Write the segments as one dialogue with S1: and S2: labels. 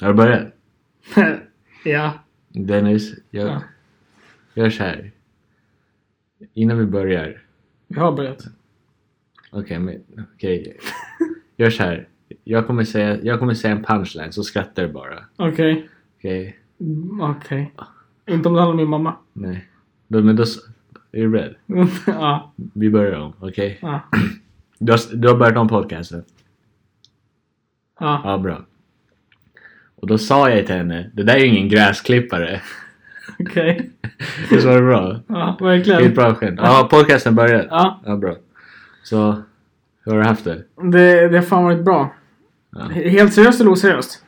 S1: Jag börjar.
S2: ja.
S1: Dennis, jag
S2: Ja.
S1: gör så här. Innan vi börjar.
S2: Vi har börjat.
S1: Okej, men okej. Gör så här. Jag kommer, säga, jag kommer säga en punchline så skrattar du bara.
S2: Okej.
S1: Okej?
S2: Mm, Okej. Inte om det handlar om min mamma.
S1: Nej. Då, men då... s- Är du beredd?
S2: ja.
S1: Vi börjar om, okej?
S2: Ja.
S1: Du, har, s- du har börjat om podcasten?
S2: Ja.
S1: Ja, bra. Och då sa jag till henne, det där är ju ingen gräsklippare.
S2: Okej.
S1: Det var det bra?
S2: Ja,
S1: Det är ett
S2: verkligen.
S1: bra skämt. Ja, podcasten började.
S2: Ja.
S1: Ja, bra. Så, hur har du haft det?
S2: Det, det har fan varit bra.
S1: Ja.
S2: Helt seriöst eller oseriöst?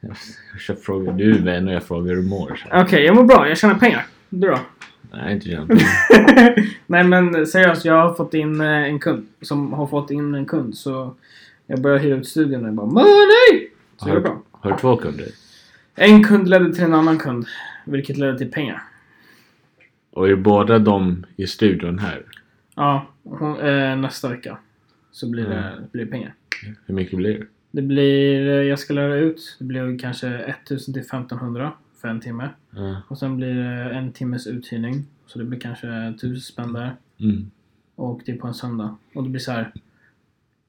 S1: Jag kör frågor. Du är vän och jag frågar hur du mår. Så.
S2: Okej, jag mår bra. Jag tjänar pengar. Du då?
S1: Nej, inte känt.
S2: Nej men seriöst, jag har fått in eh, en kund. Som har fått in en kund så jag började hyra ut studion och jag bara MONEY! Så det är bra.
S1: Har du två kunder?
S2: En kund ledde till en annan kund. Vilket ledde till pengar.
S1: Och är båda de i studion här?
S2: Ja, hon, eh, nästa vecka. Så blir det,
S1: Mm.
S2: blir det pengar.
S1: Hur mycket blir det?
S2: Det blir, eh, jag ska lära ut. Det blir kanske 1000 till 1500 för en timme.
S1: Ja.
S2: Och sen blir det en timmes uthyrning. Så det blir kanske 1000 spänn där.
S1: Mm.
S2: Och det är på en söndag. Och det blir så här.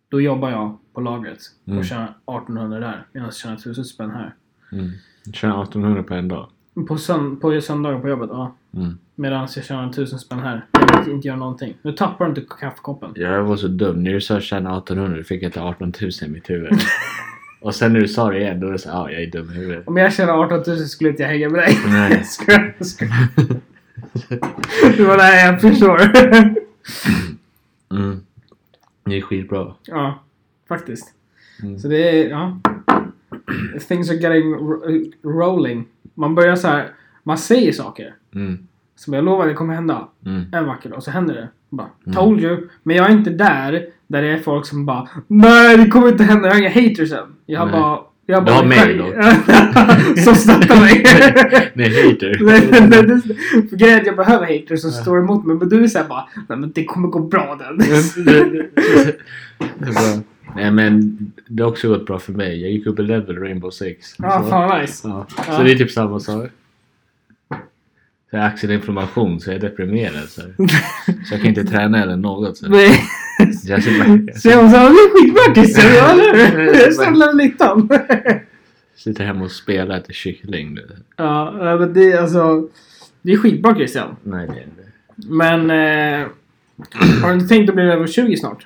S2: Då jobbar jag på lagret och
S1: Mm.
S2: tjänar 1800 där. Medan jag tjänar 1000 spänn här.
S1: Mm. Tjänar 1800 på en dag.
S2: På, sönd- på söndagar på jobbet, ja.
S1: Mm.
S2: Medan jag tjänar 1000 spänn här. Jag inte gör någonting. Nu tappar du inte kaffekoppen.
S1: Jag var så dum. När du sa tjäna 1800 fick jag till 18 000 i mitt huvud. och sen när du sa det igen, då var det såhär, ja, jag är dum i huvudet.
S2: Om jag tjänar 18 000 skulle inte jag hänga med dig.
S1: Nej.
S2: Skojar, skojar. Det var det här jag förstår.
S1: mm. Det är skitbra.
S2: ja, faktiskt.
S1: Mm.
S2: Så det är, ja. Things are getting ro- rolling. Man börjar så här. Man säger saker.
S1: Mm.
S2: Som jag lovar det kommer hända
S1: Mm.
S2: en vacker dag. Så händer det. Man Bara, Told you. Men jag är inte där. Där det är folk som bara. Nej det kommer inte hända. Jag har inga haters än. Jag har
S1: Nej.
S2: bara. Jag har
S1: Du har mig
S2: då. Som stöttar mig.
S1: Nej, hater.
S2: Nej, nej, nej, det- för Grejen är att jag behöver haters som står emot mig. Men du är såhär bara, nej men det kommer gå bra Dennis.
S1: Det är bra. Nej men det har också gått bra för mig. Jag gick upp i level Rainbow Six.
S2: Ja,
S1: så,
S2: fan vad nice.
S1: ja.
S2: Ja.
S1: så det är typ samma sak. Så jag har axelinflammation så jag är deprimerad. Så, här. så jag kan inte träna eller något. Så. här.
S2: Nej.
S1: Så jag sitter,
S2: Så jag sa, du är skitbärtis, ja eller hur?
S1: Nej,
S2: Jag samlar littan.
S1: sitter hemma och spelar till kyckling. du vet.
S2: Ja, nej, men det är alltså. Det är skitbra Christian.
S1: Nej det är inte.
S2: Men eh, har du inte tänkt att bli över 20 snart?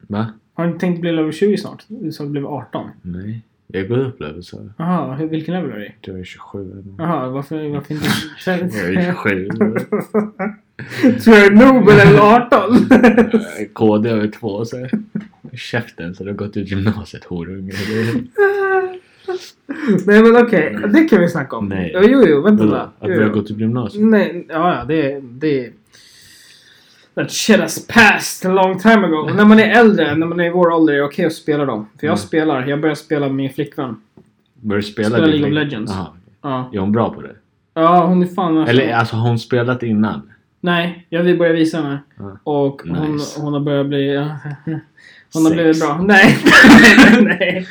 S1: Va?
S2: Har du inte tänkt att bli över 20 snart? Du sa att du blev 18.
S1: Nej. Jag går upp level så.
S2: Jaha, hur- vilken level är du i?
S1: Du är 27 eller något.
S2: Jaha, varför, varför inte?
S1: Jag är 27.
S2: Tror jag är Nobel eller 18?
S1: KD över två så. Käften så du har gått ut gymnasiet horunge.
S2: Nej men okej, det kan vi snacka om.
S1: Nej.
S2: Ja, Jo, jo, vänta.
S1: Vadå? Att
S2: Vadå? Jo,
S1: vi har
S2: jo.
S1: gått ut gymnasiet?
S2: Nej, ja, ja, det, det... That shit has passed a long time ago. när man är äldre, när man är i vår ålder, är det okej att spela dem. För jag
S1: Mm.
S2: spelar, jag börjar spela med min flickvän.
S1: Började spela
S2: Spelar
S1: din
S2: League of
S1: link?
S2: Legends. Alltså-
S1: Jaha. Är
S2: Ja.
S1: hon bra på det?
S2: ja, hon är fan värsta.
S1: Eller alltså har hon spelat innan?
S2: Nej, jag vill börja visa henne.
S1: Ja.
S2: Och hon,
S1: Nice.
S2: hon har börjat bli... Hon har
S1: Sex.
S2: blivit bra. Nej, nej.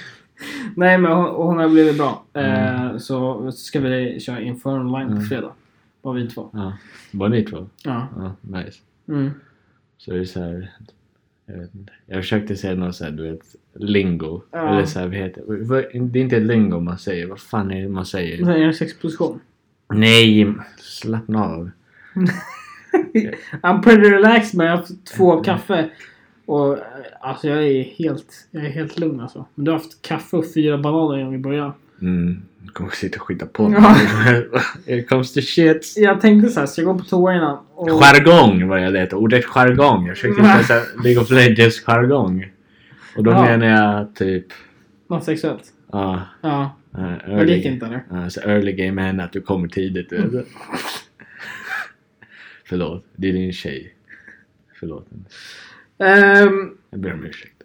S2: Nej, men hon, hon har blivit bra. Eh, så ska vi köra inför online
S1: Mm.
S2: på fredag. Bara vi två.
S1: Ja. Bara ni två?
S2: Ja.
S1: Ja, nice.
S2: Mm.
S1: Så det är så här, jag vet inte. Jag försökte säga något såhär, du vet, lingo.
S2: Ja.
S1: Eller såhär, vad heter det? Vad- Det är inte ett lingo man säger, vad fan är det man säger?
S2: Sen är det sexposition.
S1: Nej, slappna av.
S2: I'm pretty relaxed men jag har haft två kaffe. Och eh, alltså jag är helt, jag är helt lugn alltså. Men du har haft kaffe och fyra bananer innan vi började.
S1: Mm. Du kommer sitta och skita på mig.
S2: Ja.
S1: Here comes the shit.
S2: Jag tänkte så här, ska jag gå på toa innan? Och... Mm.
S1: Jargong var jag letade Ordet jargong. Jag försökte hitta så här League of Legends jargong. Och då
S2: Ja.
S1: menar jag typ,
S2: Något sexuellt?
S1: ja.
S2: Ja.
S1: Uh,
S2: Men det gick inte Mm. eller?
S1: Ja, så early game är att du kommer tidigt. du vet. Förlåt, det är din tjej. Förlåt.
S2: Ehm,
S1: Jag ber om ursäkt.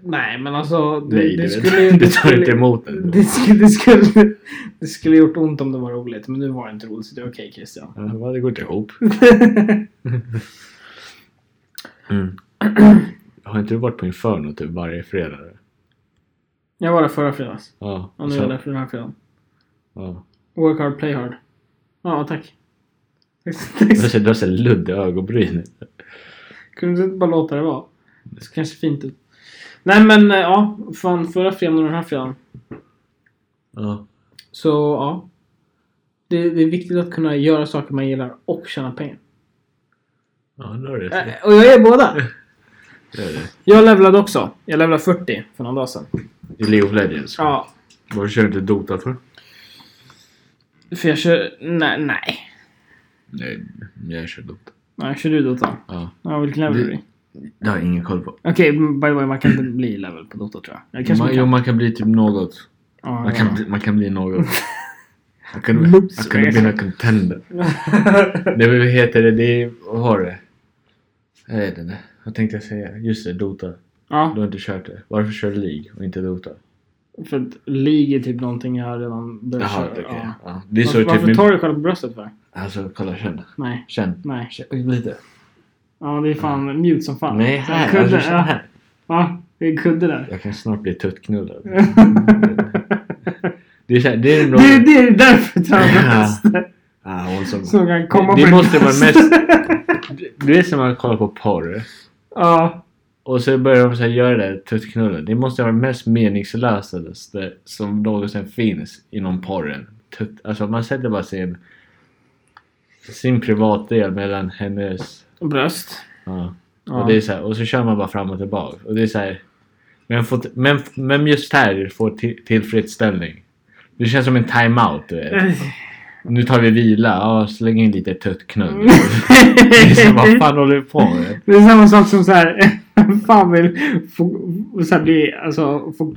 S2: nej men alltså. Du,
S1: Nej,
S2: det
S1: du,
S2: skulle,
S1: vet.
S2: det
S1: du tar
S2: skulle-
S1: inte emot den.
S2: Det skulle, det, skulle, det skulle gjort ont om det var roligt, men nu var det inte roligt så det är okej Christian.
S1: Ja, vad, det går inte ihop. Mm. Har inte du varit på Inferno typ varje fredag?
S2: Jag var där förra fredags.
S1: Ja.
S2: Och nu är
S1: så-
S2: jag där för den här fredagen.
S1: ja.
S2: Work hard, play hard. Ja, tack.
S1: Du har så- du har så ludd i ögonbrynen.
S2: Kunde du inte bara låta det vara? Det ser kanske fint ut. Nej men eh, ja, fan förra fredagen och den här fredagen.
S1: Ja.
S2: Så ja. Det, det är viktigt att kunna göra saker man gillar och tjäna pengar.
S1: Ja, nu har du
S2: Eh,
S1: det.
S2: Och jag är båda!
S1: Det är det.
S2: Jag levlade också. Jag levlade 40 för någon dag sedan.
S1: I League of Legends.
S2: Ja.
S1: Varför kör du inte Dota för?
S2: För jag kör... Nej, nej.
S1: Nej, jag kör Dota.
S2: Nej, kör du Dota?
S1: Ja.
S2: Ja, vilken level
S1: Det-
S2: blir det?
S1: Det har jag ingen koll på.
S2: Okej, by the way, man kan inte bli level på Dota tror jag. jag kanske
S1: Man,
S2: man
S1: jo,
S2: kan.
S1: man kan bli typ något.
S2: Ja,
S1: Man kan,
S2: ja.
S1: bli- man kan bli något. Man kan, man
S2: Oops.
S1: kan bli en contender. Nej men vad heter det? det är, vad har du? Jag vet inte. Vad tänkte jag säga? Just det, Dota.
S2: ja.
S1: Du har inte kört det. Varför kör du League och inte Dota?
S2: För att League är typ någonting jag redan börjat
S1: Jaha,
S2: köra.
S1: okej.
S2: Ja.
S1: Ja. Det är så
S2: Varför,
S1: typ
S2: varför
S1: min...
S2: tar du själv på bröstet för?
S1: Alltså kolla, känn.
S2: Nej,
S1: Känn.
S2: nej.
S1: Känn lite.
S2: Ja, det är fan mute som fan.
S1: Nej, här.
S2: Kudde,
S1: Alltså, så
S2: ja.
S1: här.
S2: ja, det är en kudde där.
S1: Jag kan snart bli tuttknullad. det är så här, det är en bra...
S2: det, det är därför jag tar bröstet.
S1: Ah, hon som...
S2: Som kan komma
S1: det
S2: på
S1: måste
S2: ditt
S1: vara
S2: bröst.
S1: mest... Det är som att kolla på porr.
S2: Ja.
S1: Och så börjar de så här göra det där tuttknullen. Det måste vara det mest meningslösaste som någonsin finns inom porren. Tutt, alltså man sätter bara sin, sin privatdel mellan hennes...
S2: Bröst.
S1: Ja.
S2: Ja.
S1: Och, det är så här, och så kör man bara fram och tillbaka. Och det är så här, men, får, men, men just här får till, tillfredsställning. Det känns som en time-out. du vet. Nu tar vi vila. Ja, släng in lite tuttknull. Det är så här, Vad fan håller du på med?
S2: Det är samma sak som så här. vem Fan vill få, så här bli, alltså, få,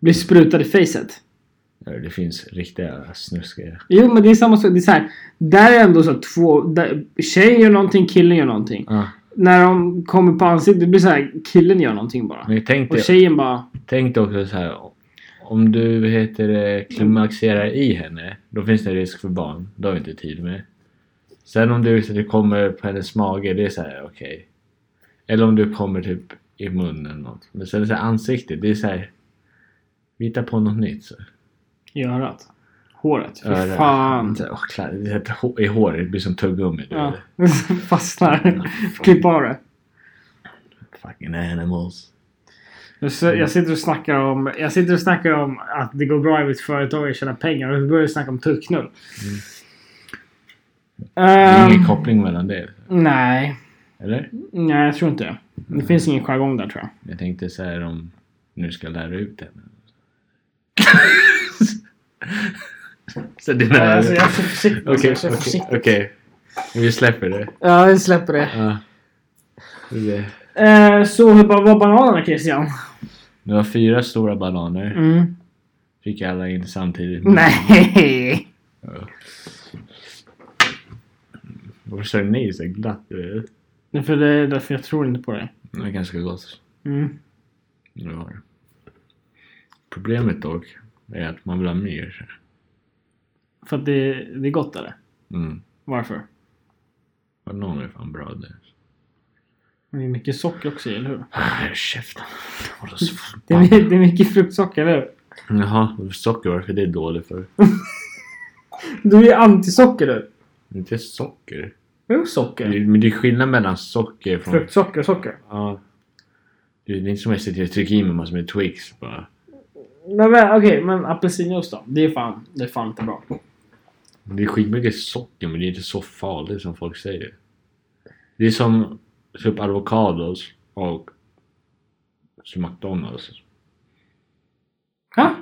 S2: bli sprutad i facet.
S1: Ja, Det finns riktiga snuskiga...
S2: Jo men det är samma sak. Det är så här. Där är ändå så här två. Där, tjejen gör någonting, killen gör någonting.
S1: Ja.
S2: När de kommer på ansiktet, det blir så här. Killen gör någonting bara.
S1: Men tänk
S2: Och
S1: dig,
S2: tjejen bara.
S1: tänk dig också så här. Om du vad heter det, klimaxerar i henne, då finns det risk för barn. Det har vi inte tid med. Sen om du, så det kommer på hennes mage, det är så här okej. Eller om du kommer typ i munnen eller något. Men sen så här, ansiktet, det är så här. Vi hittar på något nytt. Så.
S2: I örat. Håret. Fy
S1: Öra.
S2: fan.
S1: Så här, åh, klar, det är ett hå- I håret, det blir som tuggummi. Du.
S2: Ja.
S1: vet.
S2: Fastnar. Klipp av det.
S1: Fucking animals.
S2: Jag s-
S1: Mm.
S2: Jag sitter, och snackar om, jag sitter och snackar om att det går bra i mitt företag och tjänar pengar och så börjar jag snacka om tucknull.
S1: Mm. Det är
S2: Ehm,
S1: ingen koppling mellan det.
S2: nej,
S1: Eller?
S2: nej jag tror inte det. Det finns ingen jargong där tror jag.
S1: Jag tänkte så här om nu ska jag lära ut henne. så det
S2: Nej,
S1: där...
S2: alltså, jag är så försiktig. alltså,
S1: Okej,
S2: jag är så
S1: okej,
S2: försiktig.
S1: okej. Vi släpper det.
S2: Ja, jag släpper det.
S1: Ja. Det-
S2: Eh, så hur ba- var bananerna Christian?
S1: Det var fyra stora bananer.
S2: Mm.
S1: Fick alla in samtidigt.
S2: Nej!
S1: Varför sa du nej så glatt? du vet?
S2: Det är för det är därför jag tror inte på det.
S1: Det var ganska gott.
S2: Mm.
S1: Det var det. Problemet dock är att man vill ha mer.
S2: För att det, det är gott eller?
S1: Mm.
S2: Varför?
S1: Bananer är fan bra det.
S2: Det är mycket socker också eller hur?
S1: Ah, Käften. Jag håller så
S2: Det
S1: förbannad.
S2: är, det är mycket fruktsocker eller hur?
S1: Jaha, socker varför det är dåligt för?
S2: Du är antisocker du.
S1: Det är Inte socker.
S2: Jo,
S1: Det
S2: socker.
S1: är- Men det är skillnad mellan socker från...
S2: Fruktsocker och socker.
S1: Ja. Det är inte som SCT, jag trycker i mig massor med Twix bara.
S2: Nej, men Okej, men apelsinjuice då? Det är fan, det är fan inte bra.
S1: Men Det är skitmycket socker men det är inte så farligt som folk säger. Det är som typ avokados och som McDonalds.
S2: Ha?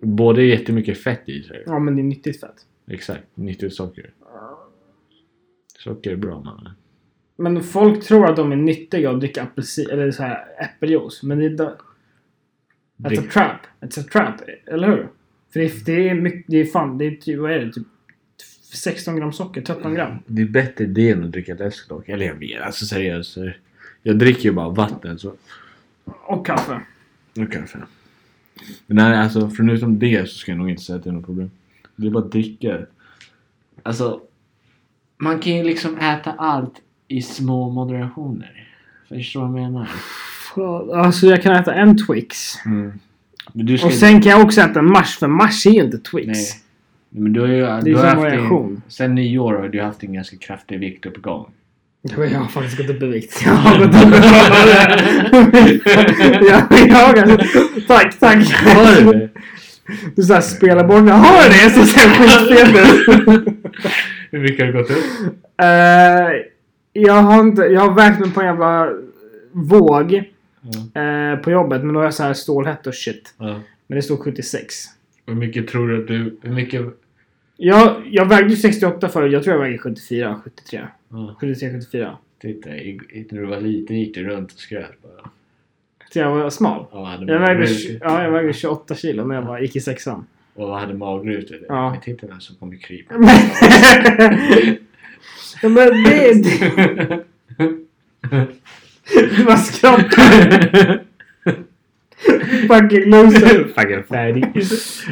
S1: Båda är jättemycket fett i sig.
S2: Ja, men det är nyttigt fett.
S1: Exakt, nyttigt socker. Socker är bra man.
S2: Men folk tror att de är nyttiga att dricka apelsin, eller så här äppeljuice. Men det är... da- It's a
S1: Drick-
S2: trap. It's a trap. Eller hur? För det, det är mycket... Det är fan... Det är typ... Vad är det? Typ 16 gram socker? 13 gram?
S1: Det är bättre det än att dricka läsk dock. Eller jag vet, alltså seriöst. Jag dricker ju bara vatten så...
S2: Och kaffe.
S1: Och kaffe. Men nej, alltså förutom det så ska jag nog inte säga att det är något problem. Det är bara att dricka. Alltså, man kan ju liksom äta allt i små moderationer. Förstår du vad jag menar?
S2: Fan, Alltså jag kan äta en Twix.
S1: Mm. Men du ska
S2: Och
S1: inte-
S2: sen kan jag också äta Mars, för Mars är ju inte Twix.
S1: Nej. Men du har ju,
S2: ju
S1: du har
S2: som
S1: haft
S2: variation.
S1: din, sen nio år har du haft en ganska kraftig viktuppgång.
S2: Ja, men jag har faktiskt gått upp i vikt. Jag har gått upp i vikt. jag, jag har, tack, tack.
S1: Har du det?
S2: Du såhär spelar bort mig. Har du det? Så säger jag skitfeber.
S1: Hur mycket har du gått upp?
S2: Eh, jag har inte, jag har vägt mig på en jävla våg eh, på jobbet. Men då har jag såhär stålhätta och shit.
S1: Ja.
S2: Men det stod 76.
S1: Hur mycket tror du att du... Hur mycket...
S2: Jag, jag vägde ju 68 förut. Jag tror jag väger 74, 73.
S1: Ja.
S2: 73, 74.
S1: Titta, i, i- när du var liten gick du runt och skröt bara.
S2: Så jag var smal.
S1: Och hade
S2: Jag vägde,
S1: magrutor.
S2: tj- ja, jag vägde 28 kilo när jag var, gick i sexan.
S1: Och hade magrutor.
S2: Ja.
S1: Men titta vem som kommer krypa.
S2: Ja, men det, det, vad skrattar du? Fucking loser.
S1: Fucking färdig.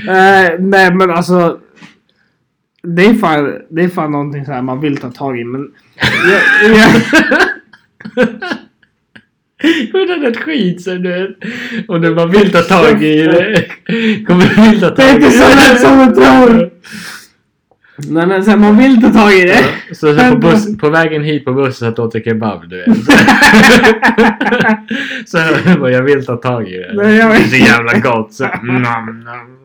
S2: Eh, nej men alltså. Det är fan, det är fan någonting så här man vill ta tag i men. jag, jag,
S1: Kommer du ihåg något skit som du vet? Om du bara vill ta tag i det. Kommer du vill ta
S2: det
S1: tag
S2: är
S1: i
S2: inte så lätt som du tror. Nej men så här, man vill ta tag i det.
S1: Så, så på, buss, på vägen hit på bussen satt jag åt en kebab du vet. Så jag bara, jag vill ta tag i det.
S2: Nej, jag
S1: Det
S2: vet.
S1: är så jävla gott. Så, nam, nam.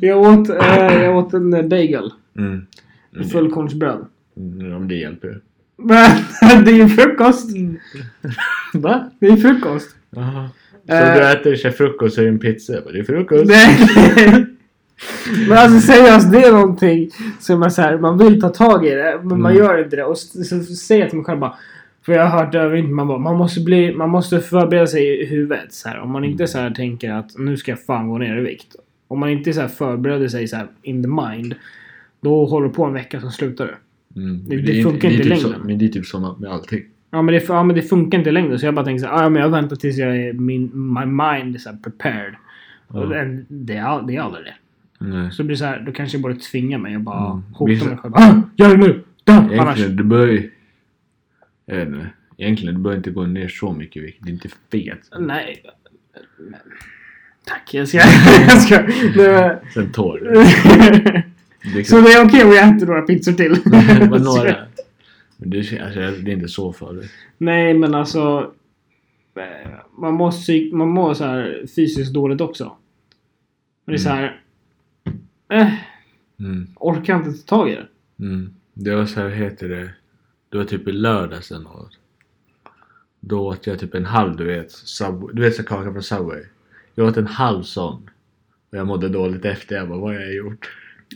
S2: Jag åt, eh, jag åt en eh, bagel.
S1: Mm. Mm.
S2: Fullkornsbröd.
S1: Mm, Om det hjälper.
S2: Men det är ju frukost.
S1: Va?
S2: Det är ju frukost.
S1: Så
S2: Eh.
S1: du äter käkar frukost så är det en pizza? Jag bara, Det är frukost.
S2: Nej. Men alltså seriöst, det är någonting som man, så här, man vill ta tag i det, men man
S1: Mm.
S2: gör inte det. Och s- så säger jag till mig själv bara. För jag har hört över inte man bara, man måste, bli, man måste förbereda sig i huvudet. Så här. Om man
S1: Mm.
S2: inte så här tänker att nu ska jag fan gå ner i vikt. Om man inte så här förbereder sig så här in the mind. Då håller du på en vecka så slutar du.
S1: Mm.
S2: Det-
S1: men
S2: det
S1: är
S2: funkar
S1: det är
S2: inte i
S1: typ så-
S2: längden.
S1: Men det är typ så med allting.
S2: Ja men det, ja, men det funkar inte längre. Så jag bara tänker så här, "Ah, ja, men jag väntar tills jag är, min my mind är så här prepared. Och
S1: Ja.
S2: det- det, är, all- det är aldrig det.
S1: Nej.
S2: Så det blir så här, då kanske jag borde tvinga mig och bara
S1: Mm.
S2: hota
S1: Vissa-
S2: mig själv. Ah, gör det nu! Dö! Annars.
S1: Egentligen, du bör ju... Jag vet inte. Egentligen, du bör inte gå ner så mycket i vikt. Det är inte fet.
S2: Nej. Men- Tack, jag ska... jag ska. Det var...
S1: Sen torr.
S2: Mm.
S1: Det är
S2: så det är okej om jag äter några pizzor till?
S1: klart. Bara några. Men du, ser- alltså, det är inte så farligt.
S2: Nej, men alltså. eh, Man mår, psyk- man mår så här fysiskt dåligt också. Men det är så här. Eh,
S1: Mm.
S2: orkar inte ta tag i det.
S1: Mm. Det var så här, vad heter det? Det var typ i lördags eller något. Då åt jag typ en halv, du vet. Subway. Du vet så kaka från Subway. Jag åt en halv sån. Och jag mådde dåligt efter. Jag bara, vad har jag gjort?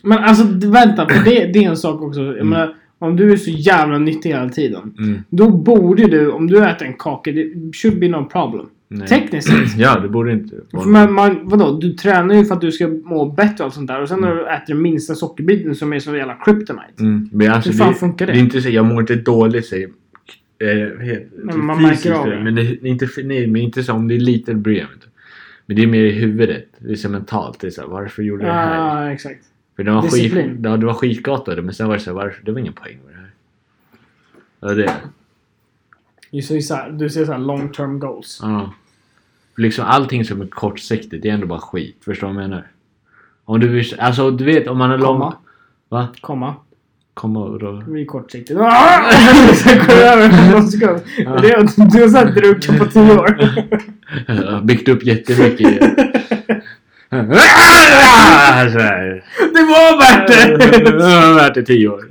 S2: Men alltså d- vänta, för det, det är en sak också. Jag menar, om du är så jävla nyttig hela tiden.
S1: Mm.
S2: Då borde du, om du äter en kaka, det should be no problem.
S1: Nej.
S2: Tekniskt sett.
S1: Ja, det borde inte vara någon-
S2: Men man, vadå, du tränar ju för att du ska må bättre och allt sånt där. Och sen när du äter den minsta sockerbiten som är som jävla kryptonite.
S1: Mm. Men alltså,
S2: Hur fan
S1: det,
S2: funkar det?
S1: är inte så, jag mår inte dåligt säger eh, helt-
S2: Men man
S1: fysiskt,
S2: märker av det.
S1: Men det är inte, nej, men inte så om det är lite bryr jag mig inte. Men det är mer i huvudet. Det är så mentalt. Det är så här, varför gjorde jag det här?
S2: Ja, Ah, exakt.
S1: För det var, skit,
S2: disciplin.
S1: ja, det var skitgott av det, men sen var det så här, varför, det var ingen poäng med det här. Ja, det.
S2: Du säger så här, du säger så här long term goals.
S1: Ja. För Liksom allting som är kortsiktigt, det är ändå bara skit. Förstår du vad jag menar? Om du vill, alltså du vet om man är lång...
S2: Komma.
S1: Va?
S2: Komma.
S1: Komma och då...
S2: Vi är kortsiktigt. Ah! Sen går det över på någon sekund. Det är- Du har såhär druckit på tio år.
S1: Jag har byggt upp jättemycket i det. Så här.
S2: Det var värt
S1: Det
S2: det!
S1: har varit i tio år.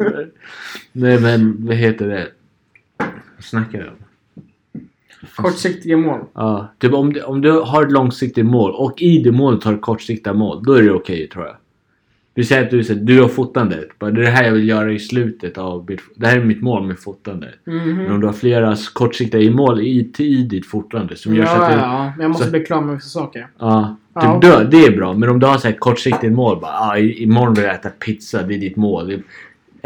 S1: Nej men vad heter det? Vad snackar vi om?
S2: Kortsiktiga mål.
S1: Ja, typ om du, om du har ett långsiktigt mål och i det målet har du kortsiktiga mål, då är det okej tror jag. Vi säger att du, säger, du har fotandet. Bara, det är det här jag vill göra i slutet av mitt, Det här är mitt mål med fotandet.
S2: Mm. Mhm.
S1: Men om du har flera kortsiktiga mål i, i ditt fotande som gör så att
S2: Ja,
S1: du,
S2: ja, men jag måste
S1: så-
S2: bli klar med vissa saker.
S1: Ja.
S2: Ja,
S1: Typ
S2: okej.
S1: dö, det är bra. Men om du har så här ett kortsiktigt mål. Bara, ah, i- imorgon vill jag äta pizza. Det är ditt mål. Det,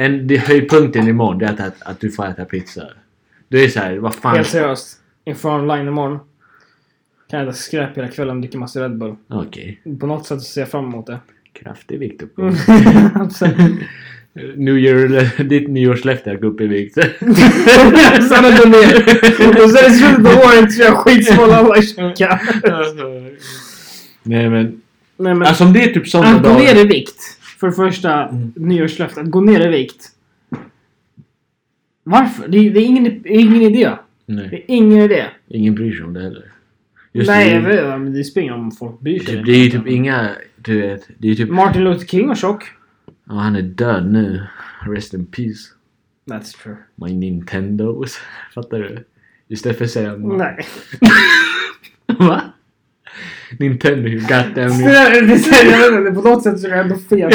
S1: en, det höjdpunkten imorgon det är att, att, att du får äta pizza. Då är det så här, vad fan.
S2: Helt seriöst. Inför online imorgon. Kan jag äta skräp hela kvällen och dricka massa Red Bull.
S1: Okej.
S2: På något sätt så ser jag fram emot det.
S1: Kraftig viktuppgång.
S2: Absolut.
S1: New year, ditt nyårslöfte är att gå upp i vikt.
S2: Sen att gå ner. Och sen i slutet av året så är jag skitsmal alla i kyrkan.
S1: Alltså, Nej men.
S2: Nej men.
S1: Alltså om det är typ sådana
S2: Att gå
S1: dagar.
S2: ner i vikt. För det första
S1: Mm.
S2: nyårslöftet. Att gå ner i vikt. Varför? Det är, det är ingen, det är ingen idé.
S1: Nej,
S2: Det är ingen idé.
S1: ingen bryr sig om det heller. Just
S2: Nej,
S1: det,
S2: jag vet inte, men det spelar ingen roll om folk bryr sig.
S1: Typ, det är ju typ inga, du vet. Det är typ,
S2: Martin Luther King var tjock.
S1: ja han är död nu. Rest in peace.
S2: That's true.
S1: My Nintendo. Fattar du? Istället för att säga
S2: Nej.
S1: Va? Nintendo, you got them.
S2: Det är- det är- jag vet inte, På något sätt så är det ändå fel.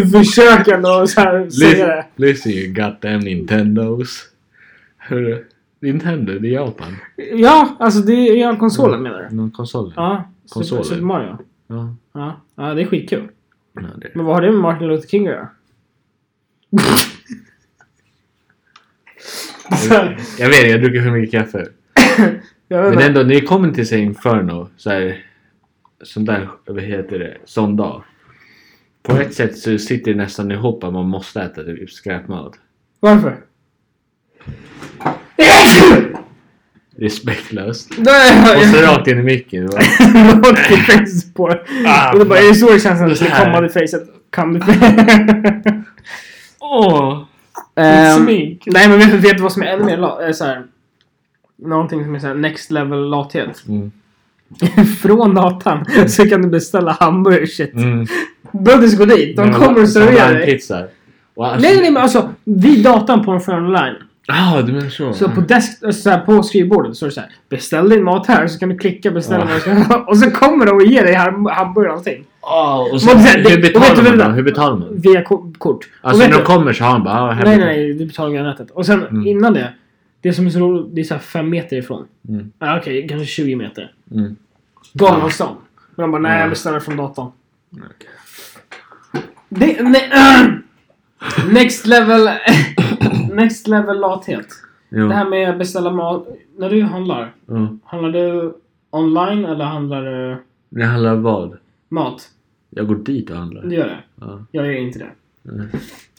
S2: Du försöker ändå så här säga
S1: Listen,
S2: det.
S1: listen, you got them Nintendos. Hörru, Nintendo, det är Japan.
S2: Ja, alltså det är ja, konsolen menar du?
S1: Någon konsol?
S2: Ja.
S1: Mm. Konsoler.
S2: Super, Super Mario.
S1: Ja.
S2: Ja. ja, det är skitkul.
S1: ja det.
S2: Men vad har det med Martin Luther King att göra?
S1: Jag vet, jag dricker för mycket kaffe.
S2: jag
S1: Men
S2: vet inte.
S1: ändå, när det kommer till sig Inferno, så här, sån där, vad heter det, sån dag. På ett sätt så sitter det nästan ihop att man måste äta typ skräpmat.
S2: Varför?
S1: Respektlöst. Och så
S2: Nej!
S1: rakt in i micken. va?
S2: Rakt i facet på det.
S1: Ah,
S2: Och det bara, är det så det känns när
S1: Det
S2: det skulle
S1: här.
S2: komma till facet? Come to
S1: Åh!
S2: Ehm,
S1: smink.
S2: Nej men vet vet du vad som är ännu mer la- eh, så här, Någonting som är såhär next level lathet.
S1: Mm.
S2: Från datan så kan du beställa hamburgare shit.
S1: Mm. alltså,
S2: Brothers går dit, de kommer och serverar dig.
S1: Pizza. Och alltså,
S2: Nej nej men alltså vid datan på en frön online.
S1: Ah, du menar så?
S2: Så på, desk, alltså, så här, på skrivbordet så är det såhär. Beställ din mat här så kan du klicka beställa
S1: Ja.
S2: vad du ska ha." Och så kommer de och ger dig ham- hamburgare och allting.
S1: Ah, och så,
S2: Men sen-
S1: hur
S2: och vet du
S1: betalar man
S2: vem
S1: då?
S2: det-
S1: Hur betalar man?
S2: Via ko- kort. Och
S1: Alltså
S2: vet
S1: när
S2: du-
S1: de kommer så har han bara... Ah, här
S2: Nej,
S1: betalar-
S2: nej, nej. Du betalar via nätet. Och sen
S1: Mm.
S2: innan det. Det som är så roligt, det är så här fem meter ifrån.
S1: Mm.
S2: Ja, Okej, kanske 20 meter.
S1: Mm.
S2: Galonsson. Men de bara, nej,
S1: Mm.
S2: jag beställer från datorn.
S1: Okej.
S2: Det, nej, next level... next level lathet.
S1: Jo.
S2: Det här med att beställa mat. När du handlar,
S1: Ja.
S2: handlar du online eller handlar du
S1: Det handlar om vad?
S2: mat?
S1: Jag går dit och handlar.
S2: Du gör det.
S1: Ja.
S2: Jag gör inte det.
S1: Mm.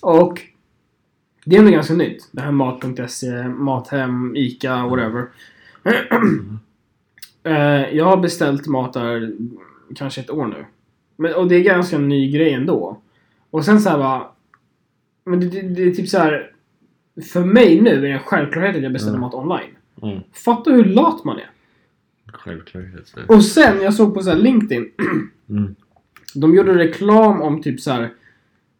S2: Och det är ändå ganska nytt. Det här mat.se, eh, Mathem, ICA, whatever.
S1: Mm.
S2: Eh, jag har beställt mat där kanske ett år nu. Men, och det är ganska en ny grej ändå. Och sen så här bara... Men det, det, det är typ så här... För mig nu är det en självklarhet att jag beställer
S1: Mm.
S2: mat online.
S1: Mm.
S2: Fatta hur lat man är.
S1: Självklart. alltså.
S2: Och sen, jag såg på så här LinkedIn.
S1: Mm.
S2: De gjorde reklam om typ så här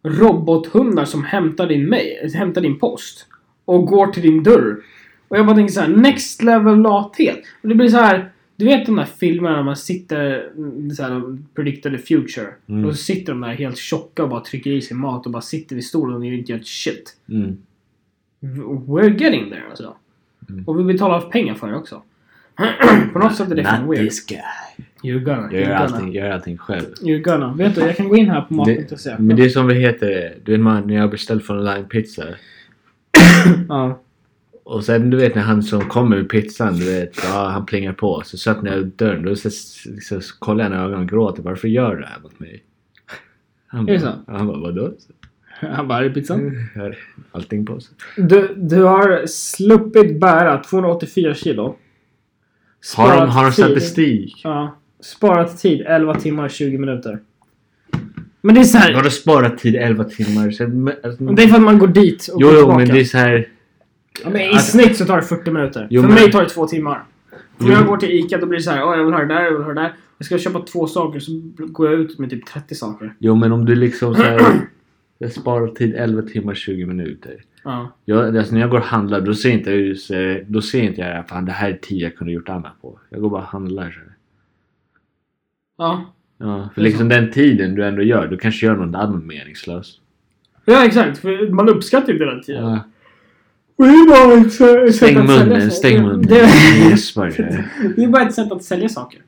S2: robothundar som hämtar din, mail, hämtar din post och går till din dörr. Och jag bara tänker så här, next level lathet. Och det blir så här, du vet de där filmerna när man sitter mm, så här, de predictar the future.
S1: Mm.
S2: Och så sitter de där helt tjocka och bara trycker i sig mat och bara sitter vid stolen och inte gör ett shit.
S1: Mm.
S2: We're getting there alltså.
S1: Mm.
S2: Och vi betalar pengar för det också. På något sätt är det fan
S1: Not
S2: weird.
S1: this guy.
S2: You're gonna,
S1: Jag gör
S2: you're gonna.
S1: allting, jag gör allting själv.
S2: You're gonna. Vet du, jag kan gå in här på mat.se.
S1: Det, men det är som vi heter, du vet man, när jag beställt från online pizza.
S2: Ja.
S1: Och sen du vet när han som kommer med pizzan, du vet, ja, han plingar på. Så satt när jag dörren, då så, så, så, kollar jag när ögonen och gråter. Varför gör du det här mot mig? Han
S2: Är det
S1: bara, han bara vadå?
S2: Han bara, är det pizzan?
S1: Jag har Allting på sig.
S2: Mm. Du, du har sluppit bära 284 kilo.
S1: Har de,
S2: Sparat
S1: har de
S2: tid.
S1: statistik?
S2: Ja. Sparat tid 11 timmar och 20 minuter. Men det är så här.
S1: Har de sparat tid 11 timmar? Så, men, alltså,
S2: Det är för att man går dit och
S1: jo,
S2: går
S1: jo,
S2: tillbaka.
S1: men det är så här.
S2: ja, men I
S1: Alltså-
S2: snitt så tar det 40 minuter.
S1: Jo,
S2: för
S1: men-
S2: mig tar det två timmar. För
S1: Jo.
S2: när jag går till ICA då blir det så här. "Åh, jag vill ha det där, jag vill ha det där. Jag ska köpa två saker så går jag ut med typ 30 saker.
S1: Jo, men om du liksom så här, jag sparar tid 11 timmar 20 minuter.
S2: Ja.
S1: Jag, alltså när jag går och handlar då ser inte jag ju så- då ser inte jag att fan det här är tid jag kunde gjort annat på. Jag går bara och handlar. Så. här.
S2: Ja.
S1: Ja, för liksom den tiden du ändå gör, du kanske gör något annat meningslöst.
S2: Ja exakt, för man uppskattar ju inte den tiden.
S1: Ja.
S2: Och det är bara ett sä- sätt
S1: Stäng
S2: att sälja
S1: munnen,
S2: saker.
S1: stäng munnen.
S2: Det,
S1: Gäspar. så här.
S2: det är bara ett sätt att sälja saker.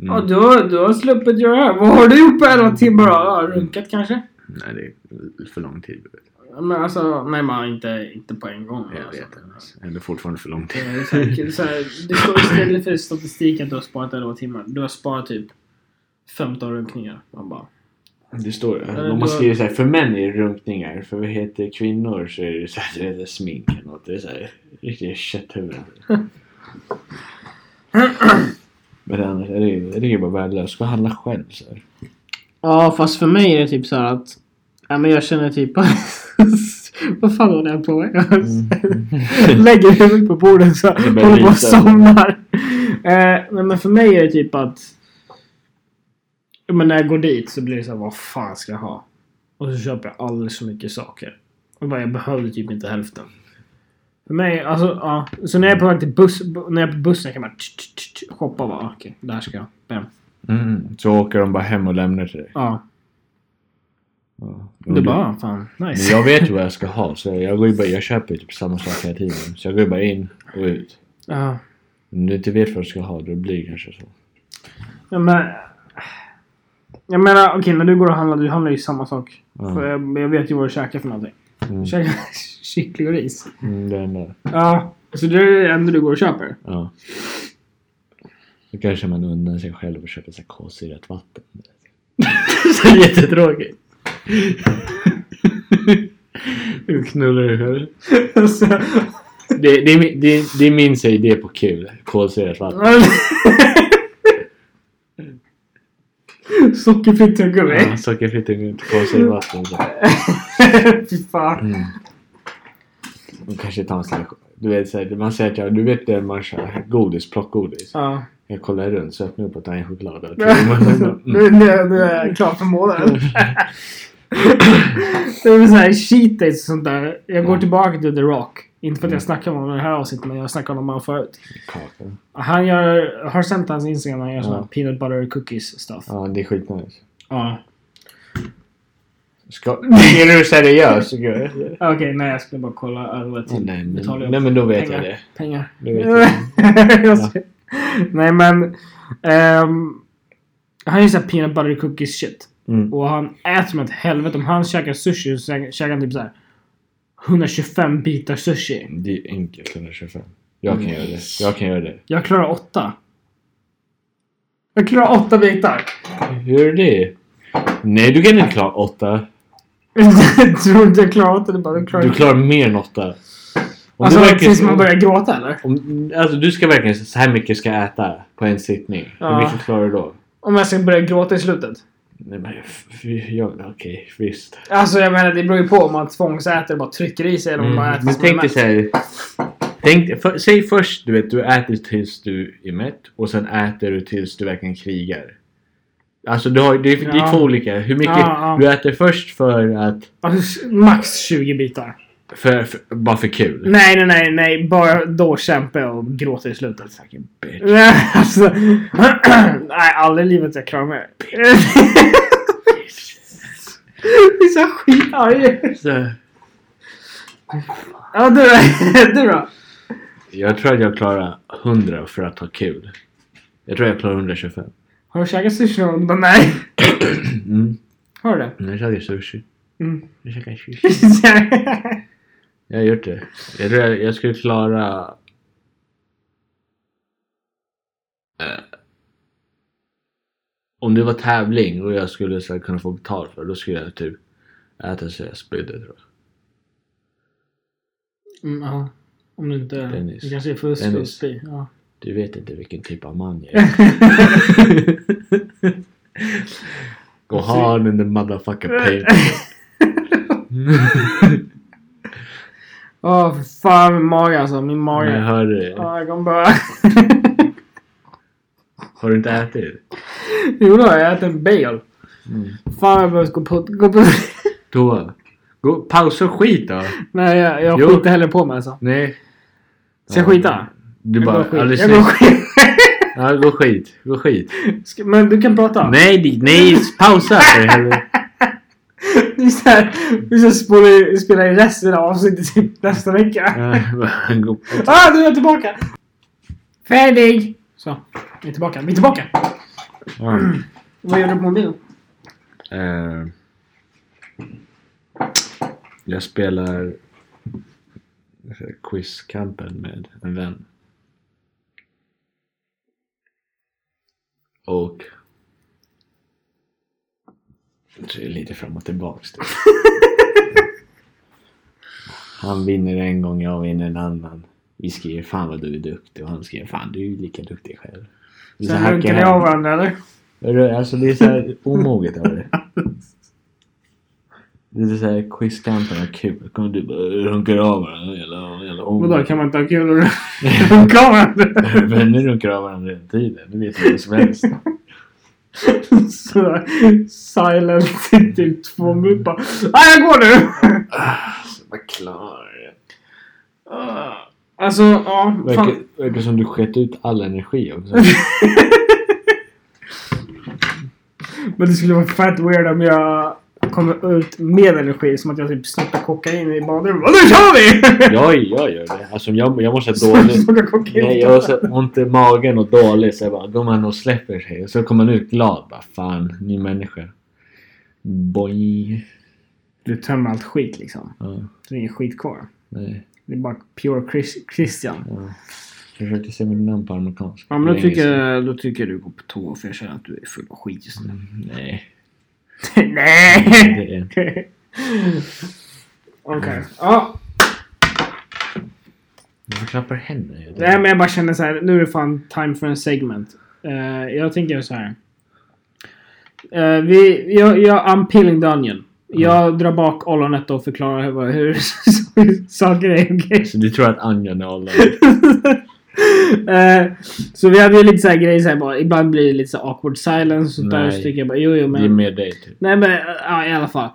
S2: Ja,
S1: Mm.
S2: du, har, du har sluppit göra det här. Vad har du gjort på 11 timmar då? Ja, runkat kanske?
S1: Nej, det är för lång tid.
S2: Men alltså, nej man inte, inte på en gång.
S1: Jag
S2: alltså.
S1: vet inte. Det är fortfarande för lång
S2: Det
S1: tid.
S2: är så här- så här, det står istället för statistik att du har sparat 11 timmar. Du har sparat typ 15 runkningar. Man bara...
S1: Det står ju.
S2: men
S1: Om man
S2: då-
S1: skriver såhär, för män är det runkningar. För vad heter kvinnor så är det såhär, det heter smink eller något. Det är såhär riktiga kötthuvuden. Men annars är det ju, det är ju bara värdelöst. Ska handla själv så här.
S2: Ja, fast för mig är det typ så här att... Ja, men jag känner typ... Vad fan håller jag på med? Lägger huvudet på bordet så
S1: Mm. börjar
S2: håller på och
S1: rysa.
S2: somnar. Eh, nej, men för mig är det typ att... ja, Men när jag går dit så blir det så här, vad fan ska jag ha? Och så köper jag alldeles för mycket saker. Och bara, jag behövde typ inte hälften. För mig, alltså ja. Så när jag är på väg till buss, när jag är på bussen kan jag bara tch, tch, tch, shoppa och bara, okej, där ska jag. Bam.
S1: Mm. Så åker de bara hem och lämnar till dig.
S2: Ja.
S1: Ja.
S2: Det bara, fan,
S1: Mm. Men
S2: nice.
S1: jag vet ju vad jag ska ha så jag går ju bara, jag köper ju typ samma sak hela tiden. Så jag går ju bara in och ut.
S2: Ja.
S1: Om du inte vet vad du ska ha då blir det kanske så.
S2: Ja, men, jag menar, okej när du går och handlar, du handlar ju samma sak.
S1: Ja.
S2: För jag, jag vet ju vad du käkar för någonting.
S1: Mm.
S2: Du käkar kyckling och ris.
S1: Mm, det är ändå.
S2: Ja. Så det är det enda du går och köper?
S1: Ja. Då kanske man undrar sig själv och köper så här kolsyrat vatten. så jättetråkigt. Du knullar dig själv.
S2: Så-
S1: Det, det, är min- det, det är min så idé på kul. Kolsyrat vatten.
S2: Sockerfritt tuggummi?
S1: Ja, Sockerfritt och kolsyrat vatten. Så.
S2: Fy fan.
S1: Mm. Och kanske ta en sån här... Du vet, så här, man säger att jag, du vet det man kör godis, plockgodis.
S2: Ja.
S1: Jag kollar runt så öppnar jag upp och tar en choklad. och- Mm.
S2: nu, nu, nu är jag klar för månaden. det är väl såhär cheat days och sånt där. Jag går
S1: Mm.
S2: tillbaka till The Rock. Inte för att
S1: Mm.
S2: jag snackar om honom i det här avsnittet men jag snackade om honom förut.
S1: Kaka.
S2: Han gör, har sett hans Instagram han gör såna
S1: Ja.
S2: här peanut butter cookies stuff. Ja.
S1: Ja, det är skitnice. Ska, är du seriös? Gud.
S2: Okej, nej jag skulle bara kolla över vad
S1: Ja,
S2: tid
S1: nej,
S2: betalar
S1: men,
S2: jag
S1: nej men då vet
S2: pengar.
S1: jag det.
S2: Pengar.
S1: Då vet jag det.
S2: Jag ska- Nej men. ehm, han gör såhär peanut butter cookies shit.
S1: Mm.
S2: Och han äter som ett helvete. Om han käkar sushi så käkar- käkar han typ såhär 125 bitar sushi.
S1: Det är enkelt 125. Jag kan göra det. Jag kan göra det.
S2: Jag klarar åtta. Jag klarar åtta bitar.
S1: Hur är det? Nej, du kan inte klara åtta.
S2: Jag tror inte jag klarar åtta. Det är bara, jag klarar
S1: Du klarar mer än åtta. Om
S2: Alltså
S1: du verkligen-
S2: tills man börjar gråta eller?
S1: Om, alltså du ska verkligen så här mycket ska jag äta på en sittning.
S2: Ja.
S1: Hur mycket klarar du då?
S2: Om jag ska börja gråta i slutet.
S1: Nej men f- f- jag, okej, visst.
S2: Alltså jag menar det beror ju på om man tvångsäter och bara trycker i sig eller om man äter
S1: Mm. Men
S2: som man
S1: tänk dig
S2: är mätt.
S1: såhär. Tänk, för, säg först du vet, du äter tills du är mätt och sen äter du tills du verkligen krigar. Alltså du har, det, är, det är
S2: Ja.
S1: två olika. Hur mycket
S2: Ja, ja.
S1: du äter först för att,
S2: Alltså, max 20 bitar.
S1: för, för, bara för kul.
S2: Nej, nej, nej, nej. Bara då kämpar jag och gråter i slutet.
S1: Fucking bitch.
S2: Nej, alltså. nej, aldrig i livet jag klarar mig. Det är så här skitarg.
S1: Så,
S2: Ja, du då? Du då?
S1: jag tror att jag klarar 100 för att ha kul. Jag tror jag klarar 125.
S2: Har du käkat sushi någon gång? Bara, Nej.
S1: Mm.
S2: Har du det?
S1: Men Jag käkar sushi.
S2: Mm.
S1: Jag käkar sushi. Jag har gjort det. Jag tror jag, jag skulle klara... Eh, om det var tävling och jag skulle så här, kunna få betalt för det, då skulle jag typ äta så jag spydde tror
S2: Mm, ja. Om du inte...
S1: Dennis.
S2: Det kanske är fusk och
S1: Dennis.
S2: spy. Ja.
S1: jag. Du vet inte vilken typ av man jag är. Gå hard in the motherfucking paint.
S2: Åh, för fan min mage alltså. Min
S1: Men jag
S2: mage.
S1: hör det.
S2: Ja, jag kommer bara...
S1: Har du inte ätit?
S2: jo då, jag äter en bagel.
S1: Mm.
S2: Fan, jag behöver gå på... Gå på...
S1: Då. Gå, pausa och skit då.
S2: Nej, jag, jag
S1: Jo.
S2: skiter heller på mig alltså.
S1: Nej.
S2: Ska jag skita?
S1: Du
S2: jag
S1: bara...
S2: går skit.
S1: alldeles
S2: Jag går
S1: nyss-
S2: skit.
S1: Ja, gå skit. Gå skit.
S2: Ska- Men du kan prata.
S1: Nej, di- nej, pausa för helvete.
S2: Det är så här, vi ska spola- spela in resten av avsnittet typ nästa vecka.
S1: Eh, gå-
S2: Ah, nu är jag tillbaka! Färdig! Så, vi är tillbaka. Vi är tillbaka!
S1: Ja.
S2: Vad gör du på mobilen?
S1: Eh, Jag spelar quizkampen med en vän. Och Så det är lite fram och tillbaks. typ. Han vinner en gång, jag vinner en annan. Vi skriver fan vad du är duktig och han skriver fan du är ju lika duktig själv. Det är så
S2: Sen
S1: hack i
S2: runkar ni
S1: häl.
S2: av varandra eller?
S1: Hörru, Alltså det är såhär omoget av det. Det är såhär quizkampen har kul. Kommer du bara runkar av varandra. Jävla, jävla omoget.
S2: Vadå, kan man inte ha kul och runka av varandra?
S1: Vänner runkar av varandra hela tiden. Det vet vi vad som helst. Alltså,
S2: Så silent i typ två minuter. bara, Nej, jag går nu!
S1: Vad klar.
S2: Ah, Alltså, ja.
S1: Verkar,
S2: Fan.
S1: verkar som du skett ut all energi också.
S2: Men det skulle vara fett weird om jag kommer ut med energi. Som att jag typ snortar kokain i badrummet. Och nu kör vi!
S1: Jag, jag gör det. Alltså jag, jag mår så dåligt.
S2: Snortar kokain.
S1: Nej, jag har så ont i magen och dåligt. Så jag bara, går man och släpper sig. Och så kommer man ut glad. Bara, fan, ny människa. Boing.
S2: Du tömmer allt skit liksom.
S1: Ja,
S2: Så det är ingen skit kvar.
S1: nej.
S2: Det är bara pure Chris- Christian.
S1: Ja. Jag försökte se mitt namn på amerikanska.
S2: Ja men då
S1: Länge sedan.
S2: tycker, då tycker du gå på toa för jag känner att du är full av skit just nu.
S1: Nej.
S2: Nej!
S1: Det är...
S2: Okej. Ja.
S1: Varför klappar du henne?
S2: Nej men jag bara känner så här. Nu är det fan time för en segment. Eh, jag tänker så här. Eh, vi, jag, jag, I'm peeling the onion.
S1: Mm.
S2: Jag drar bak ollonet och förklarar hur, vad- hur saker är. okej?
S1: Så du tror att Anja nollar?
S2: Eh, så vi hade ju lite så här grejer så här, bara, ibland blir det lite så här awkward silence och sånt där.
S1: Nej.
S2: Så tycker jag bara, jo, jo men.
S1: Ge med dig typ.
S2: Nej men, ja i alla fall.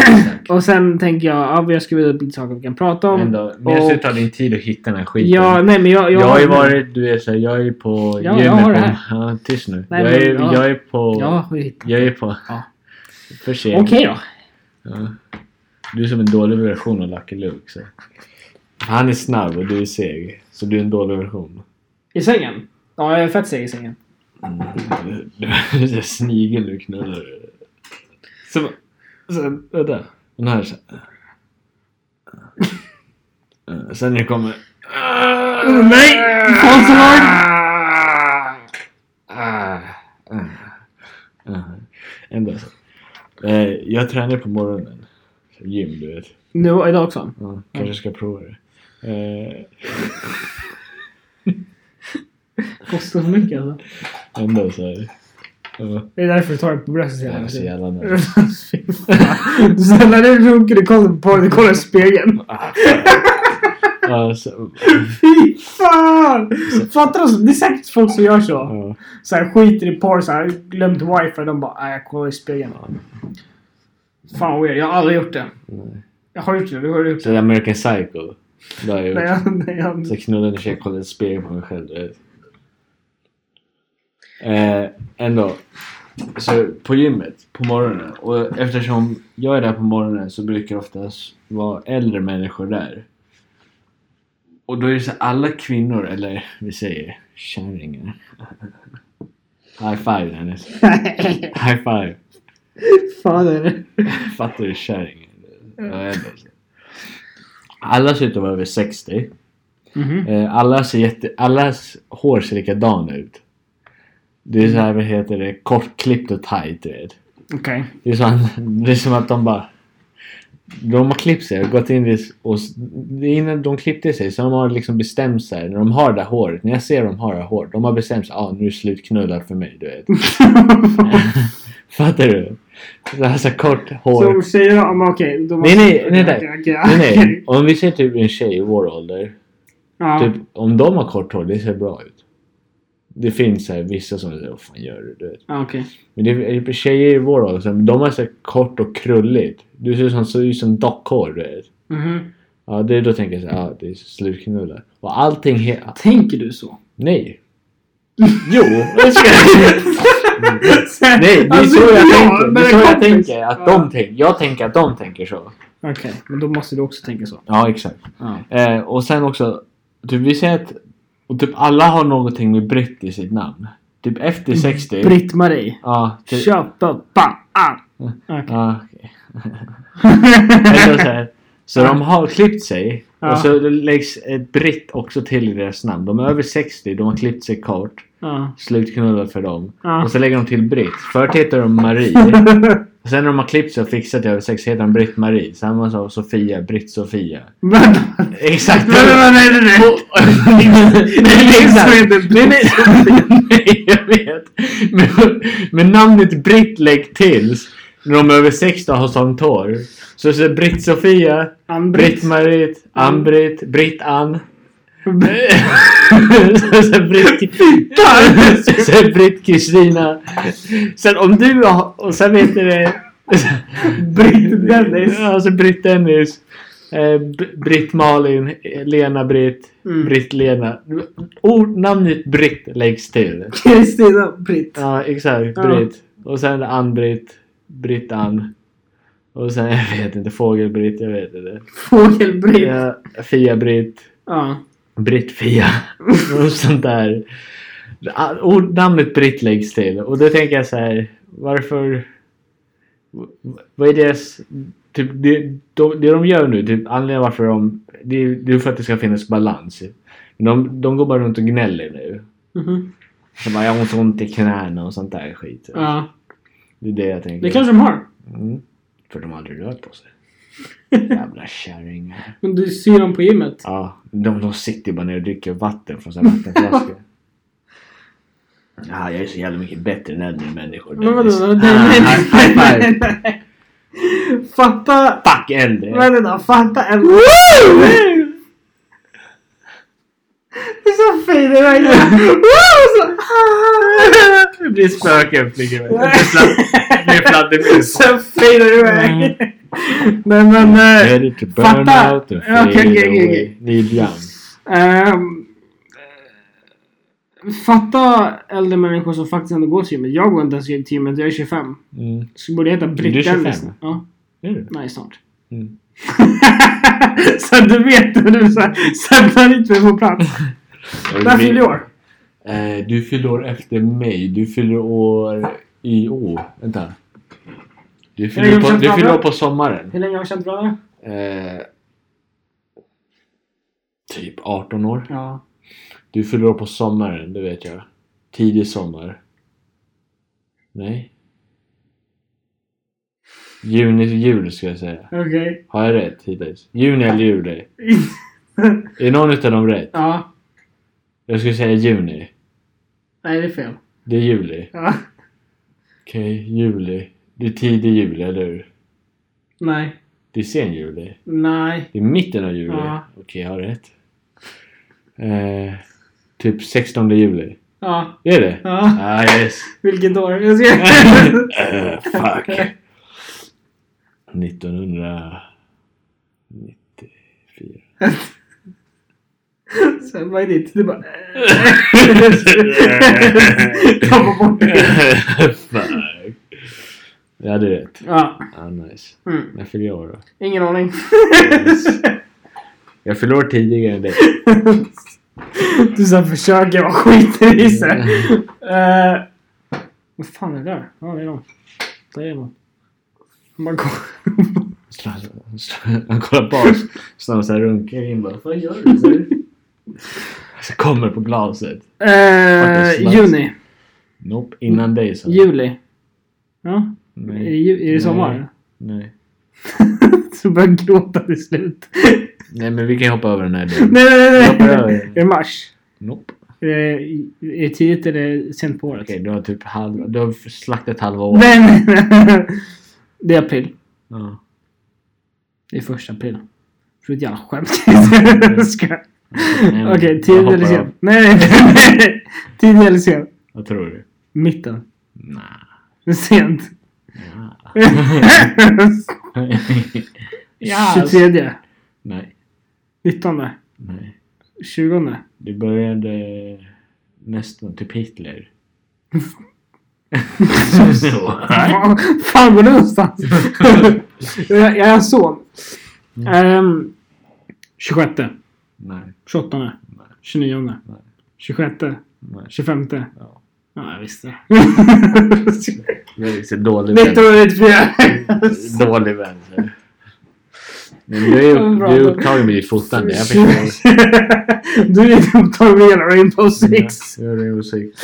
S2: och sen tänker jag, ja vi har skrivit upp lite saker vi kan prata om.
S1: Men då, men jag ska
S2: och,
S1: ta din tid att hitta den här skiten.
S2: ja, nej men jag...
S1: jag, har ju varit, du vet såhär, jag är på
S2: Ja, jag
S1: gymmet.
S2: har det
S1: på-
S2: här.
S1: Ja, tyst nu.
S2: Nej,
S1: jag,
S2: men
S1: är,
S2: jag-
S1: jag är på...
S2: Jag har ju hittat.
S1: Jag är på...
S2: Ja.
S1: För sent.
S2: Okej då.
S1: Ja. Du är som en dålig version av Lucky Luke. Så. Han är snabb och du är seg. Så du är en dålig version.
S2: I sängen? Ja, jag är fett seg i sängen.
S1: Du- Du är en snigel du knullar. Så, så, vänta. Den här så. Eh, Sen när det kommer...
S2: Nej! False alarm!
S1: Ah, ah, ah. Ändå så. Eh, Jag tränar på morgonen. Gym, du vet.
S2: Nu och idag också.
S1: Ja, kanske ska prova det. Eh,
S2: Kostar för mycket alltså.
S1: ändå så här. Ja,
S2: Det är därför du tar det på bröstet så
S1: jag är så
S2: jävla
S1: jävla nöjd.
S2: Fy fan. Sen när du runkar du kollar på porr, du kollar i spegeln.
S1: Ja, så-
S2: Fy fan! Fattar du? Det är säkert folk som gör så.
S1: ja.
S2: Så här, skiter i porr, så här, glömt wifi. De bara "Nej, jag kollar i spegeln. Fan vad weird. Jag har aldrig gjort det.
S1: Nej.
S2: Jag har gjort det. Du har gjort det.
S1: Så där American Psycho. Det har jag
S2: Nej,
S1: gjort.
S2: jag, nej, jag,
S1: Så jag knullade en tjej och kollade i spegeln på mig själv. du vet. Eh, ändå. Så på gymmet på morgonen. Och eftersom jag är där på morgonen så brukar det oftast vara äldre människor där. Och då är det så här, alla kvinnor, eller vi säger kärringar. High five Dennis. High five.
S2: fan är det?
S1: Fattar du kärringen? Ja, ändå. Alla ser ut att vara över 60.
S2: Mhm.
S1: Eh, Alla ser jätte... Allas hår ser likadana ut. Det är så här, vad heter det, kortklippt och tajt du vet.
S2: Okej.
S1: Det är, så, det är som att de bara... De har klippt sig och gått in i... Och, s- innan de klippte sig så de har liksom bestämt sig. När de har det där håret, när jag ser dem har det här håret. De har bestämt sig. ah, nu är det slutknullat för mig du vet. Fattar du? Så här, så här kort hår.
S2: Så tjejer har... men Okej. de har-
S1: Nej, nej, nej, nej.
S2: Okej, okej,
S1: Nej, nej.
S2: okej.
S1: Om vi ser typ en tjej i vår ålder.
S2: Ja.
S1: Typ, om de har kort hår, det ser bra ut. Det finns så här, vissa som säger vad fan gör du? du vet.
S2: Ja, Okej.
S1: Men det är typ tjejer i vår ålder, så här, de har så här kort och krulligt. Du ser ut som, ser ut som dockhår. Du vet.
S2: Mhm.
S1: Ja, det, då tänker jag så här, ja, det är slutknullar. Och allting... He-
S2: Tänker du så?
S1: nej. Jo! jag ska- Mm. Nej, det är
S2: Alltså,
S1: så jag
S2: ja,
S1: tänker. Det
S2: men
S1: är så jag
S2: kompis.
S1: tänker. Att de tänker. Jag tänker att de tänker så.
S2: Okej, men då måste du också tänka så. Mm.
S1: Ja, exakt.
S2: Ja.
S1: Eh, och sen också, typ vi ser att och typ alla har någonting med Britt i sitt namn. Typ efter
S2: Mm.
S1: 60.
S2: Britt-Marie.
S1: Ja, typ, Mm.
S2: Shut up! Ba, ah. Okej.
S1: ja okej. Eller så här, Så de har klippt sig
S2: Ja.
S1: och så läggs ett britt också till i deras namn. De är över 60, de har klippt sig kort.
S2: Ja.
S1: Slutknulla för dem.
S2: Ja.
S1: Och så lägger de till Britt. Förut heter de Marie. Och sen när de har klippt sig och fixat det över sex heter de Britt-Marie. Samma som Sofia, Britt-Sofia.
S2: Vänta.
S1: Exakt!
S2: Vänta, vänta, nej, nej, nej.
S1: Exakt.
S2: som heter
S1: Nej, nej. Nej, jag vet. Men, men namnet Britt lägg till när de är över 60 och har sånt hår. Så så Britt-Sofia,
S2: Ann-Britt. Mm.
S1: Britt-Marit, Ann-Britt, Britt-Ann. Sen Britt... Sen Britt-Kristina. Sen om du har... Och sen heter det...
S2: Britt-Dennis.
S1: Ja, sen Britt-Dennis. Eh, B- Britt-Malin. eh, Lena-Britt.
S2: Mm.
S1: Britt-Lena. Ord, namnet Britt läggs till.
S2: Kristina Britt.
S1: Ja, exakt.
S2: Ja.
S1: Britt. Och sen Ann-Britt. Britt-Ann. Och sen, jag vet inte. Fågel-Britt. Jag vet inte.
S2: Fågel-Britt. Ja.
S1: Ja, Fia-Britt. Britt-Fia. och sånt där. Ah, Ord, namnet Britt läggs till. Och då tänker jag så här. Varför? v- Vad är deras... Typ, det, de, det de gör nu, typ, anledningen varför de... Det är, det är för att det ska finnas balans. De, de går bara runt och gnäller nu.
S2: Mhm.
S1: Så bara, jag har så ont i knäna och sånt där skit.
S2: Ja.
S1: Det är det jag tänker.
S2: Det kanske de har.
S1: mm. För de har aldrig rört på sig. Jävla kärringar.
S2: Men du ser dem på gymmet.
S1: Ja, de, de sitter ju bara ner och dricker vatten från sina vattenflaskor. Ja, jag är så jävla mycket bättre än äldre människor.
S2: Men vadå?
S1: Dennis.
S2: Nej,
S1: Ah,
S2: nej,
S1: high five.
S2: nej, nej. Fatta...
S1: Fuck äldre!
S2: Vänta då, fatta en... Det är så fint! Det var Alltså, ju...
S1: Det blir spöken flyger iväg. Det Mm. blir fladdermus.
S2: Sen fejdar du iväg. Nej men... eh,
S1: Ready to burn
S2: Fatta.
S1: out and fade
S2: Okej, okej, okej,
S1: away.
S2: okej.
S1: Neil Young.
S2: ehm, eh, fatta äldre människor som faktiskt ändå går till gymmet. Jag går inte ens till gymmet, jag är 25.
S1: Mm.
S2: Så borde jag heta
S1: Du är
S2: Britt
S1: 25?
S2: Dennis. Ja.
S1: Är du?
S2: Nej, snart.
S1: Mm.
S2: så att du vet hur du så här sätter dit mig på plats. Där fyller jag år.
S1: Eh, Du fyller år efter mig. Du fyller år i år. Vänta. Du fyller,
S2: jag
S1: på,
S2: kan
S1: du
S2: ta
S1: fyller
S2: bra.
S1: år på sommaren.
S2: Hur länge har vi känt varandra?
S1: Eh, typ 18 år.
S2: Ja.
S1: Du fyller år på sommaren, det vet jag. Tidig sommar. Nej. Juni till jul ska jag säga.
S2: Okej.
S1: Har jag rätt hittills? Juni eller juli? Är någon utav dem rätt?
S2: ja.
S1: Jag skulle säga juni.
S2: Nej, det är fel.
S1: Det är juli.
S2: Ja.
S1: Okej, juli. Det är tidig juli, eller hur?
S2: Nej.
S1: Det är sen juli.
S2: Nej.
S1: Det är mitten av juli?
S2: Ja.
S1: Okej, jag har rätt. Eh, typ 16 juli.
S2: Ja.
S1: Är det?
S2: Ja.
S1: Ah, yes.
S2: Vilket år? Jag ska...
S1: Eh, fuck. 1994.
S2: Sen, vad är ditt? Du bara... Tappa bort det.
S1: fuck. Jag hade rätt.
S2: Ja.
S1: Ah, nice.
S2: Mm.
S1: När fyller jag år då?
S2: Ingen aning.
S1: Jag fyller år tidigare än dig.
S2: du så här försöker vara skiter i sig. Eh, Vad fan är det där? Ja, det är de. Där är de. Man går...
S1: Han kollar på oss. Snarare så här runkar in bara. Vad gör du? Så här- Så kommer på glaset.
S2: Eh, juni.
S1: Nope, innan dig sa jag.
S2: Juli. Ja. Är det,
S1: Nej.
S2: ju, är det
S1: Nej.
S2: sommar?
S1: Nej.
S2: så börjar jag gråta till slut.
S1: Nej men vi kan hoppa över den här delen.
S2: nej, nej,
S1: Hoppa
S2: nej, nej.
S1: över.
S2: Är det mars?
S1: Nope.
S2: Är det, är det Eh, tidigt eller sent på året?
S1: Okej, du har typ halv... Du har slaktat halva året.
S2: Nej, nej, nej. Det är april.
S1: Ja.
S2: Det är första april. För ett jävla skämt. Jag skojar.
S1: Nej, men
S2: Okej,
S1: jag
S2: tidig
S1: hoppar
S2: eller
S1: av.
S2: sen? Nej, nej, nej. Tidig eller sen?
S1: Vad tror du?
S2: Mitten.
S1: Nah.
S2: Sent.
S1: Ja.
S2: 23.
S1: Nej.
S2: 19.
S1: Nej.
S2: 20.
S1: Det började nästan typ Hitler. Så.
S2: Fan, Fan går du någonstans? jag jag är son.
S1: Mm.
S2: Ehm, 26.
S1: Nej.
S2: 28.
S1: Nej.
S2: 29.
S1: Nej.
S2: 26.
S1: Nej.
S2: 25.
S1: Ja.
S2: Ja, jag visste.
S1: Det är liksom dålig vän.
S2: 1994.
S1: Dålig vän. så. Men du är,
S2: Vad Mm, bra.
S1: du är upptagen med ditt fotande. Jag förstår.
S2: du är typ lite upptagen med hela Rainbow Six.
S1: Ja, det är musik.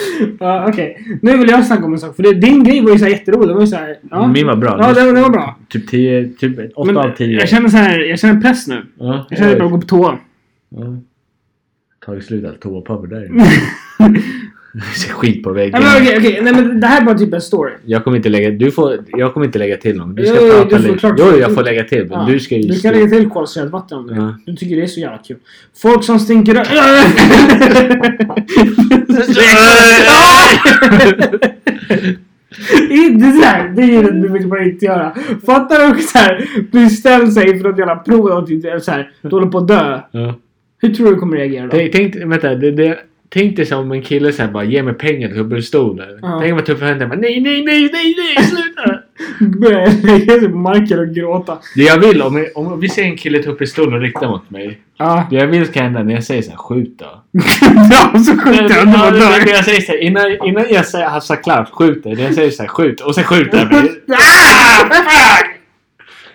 S2: Ja, Okej, nu vill jag snacka om en sak. För det, din grej var ju så här jätterolig. Den var ju så här, ja.
S1: Min var bra.
S2: Ja, den, den var bra.
S1: Typ 10, typ 8 av 10.
S2: jag känner så här, jag känner press nu.
S1: Ja,
S2: Jag känner att jag
S1: oj.
S2: går på toa.
S1: Ja. Tagit slut allt toapapper där inne. Ser skit på väggen.
S2: Nej Mm. men okej, okej. Nej men det här var typ en story.
S1: Jag kommer inte lägga, du får, jag kommer inte lägga till någon. Du ska
S2: Jo, jo,
S1: prata
S2: du får
S1: lite.
S2: klart-
S1: Jo, jag får lägga till. Men
S2: Ja.
S1: du ska ju...
S2: Du kan lägga till kolsyrat vatten om du
S1: Ja.
S2: Du tycker det är så jävla kul. Folk som stinker rö- Inte såhär, det är det du vill bara inte göra. Fattar du såhär, beställ sig för något jävla prov och typ, eller såhär, du håller på att dö.
S1: Ja.
S2: Hur tror du du kommer reagera då?
S1: Tänk, tänk, vänta, det, det, tänk dig som en kille sen bara ge mig pengar till bullstolen.
S2: Ja.
S1: Tänk om jag tar upp händerna bara nej, nej, nej, nej, nej, sluta!
S2: Börjar lägga sig på marken och gråta.
S1: det jag vill, om, jag- om vi ser en kille ta upp pistolen och rikta mot mig.
S2: Ja.
S1: Det jag vill ska hända när jag säger såhär skjut då.
S2: Ja, så skjuter han
S1: Ja,
S2: och
S1: det-
S2: dör.
S1: det jag säger såhär, innan, innan jag säger hafsar klart skjut då. Det jag säger såhär skjut och sen skjuter jag mig.
S2: Ah!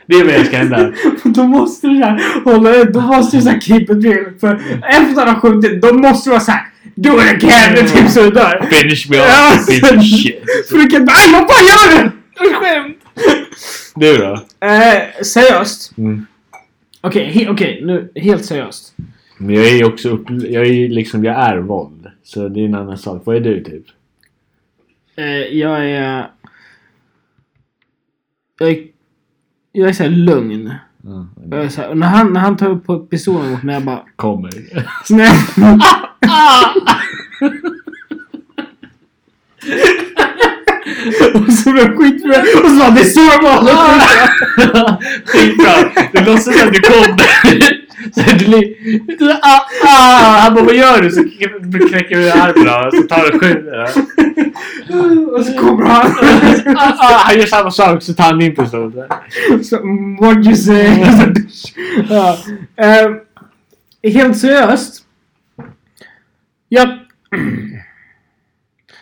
S1: Det är vad jag ska hända.
S2: Då måste du såhär hålla Då måste du såhär keep it real. För efter att ha skjutit, då måste du vara såhär Do it again! Typ så du dör.
S1: Finish me
S2: Ja,
S1: off, finish
S2: sen-
S1: shit.
S2: För du kan bara "Aj, vad fan gör du? Det är skämt!
S1: Du då?
S2: Eh, seriöst?
S1: Mm.
S2: Okej, he- okej, nu helt seriöst.
S1: Men jag är ju också upp, jag är ju liksom, jag är våld. Så det är en annan sak. Vad är du typ?
S2: Eh, jag är... Jag är, jag är såhär lugn. Jag är så här, när, han, när han tar upp pistolen mot mig, jag bara...
S1: Kommer.
S2: Snälla! Och så blev jag skitbra. Och så bara, det är så jag var!
S1: Skitbra! Du låtsas att du kommer. Så du li- du- ah, ah. Han bara vad gör du? Så k- knäcker du armen av så tar du skjuter.
S2: Och så kommer han.
S1: Ah, ah. Han gör samma sak så tar han din pistol.
S2: Så, mm, what you say? ja. eh, helt seriöst. Jag...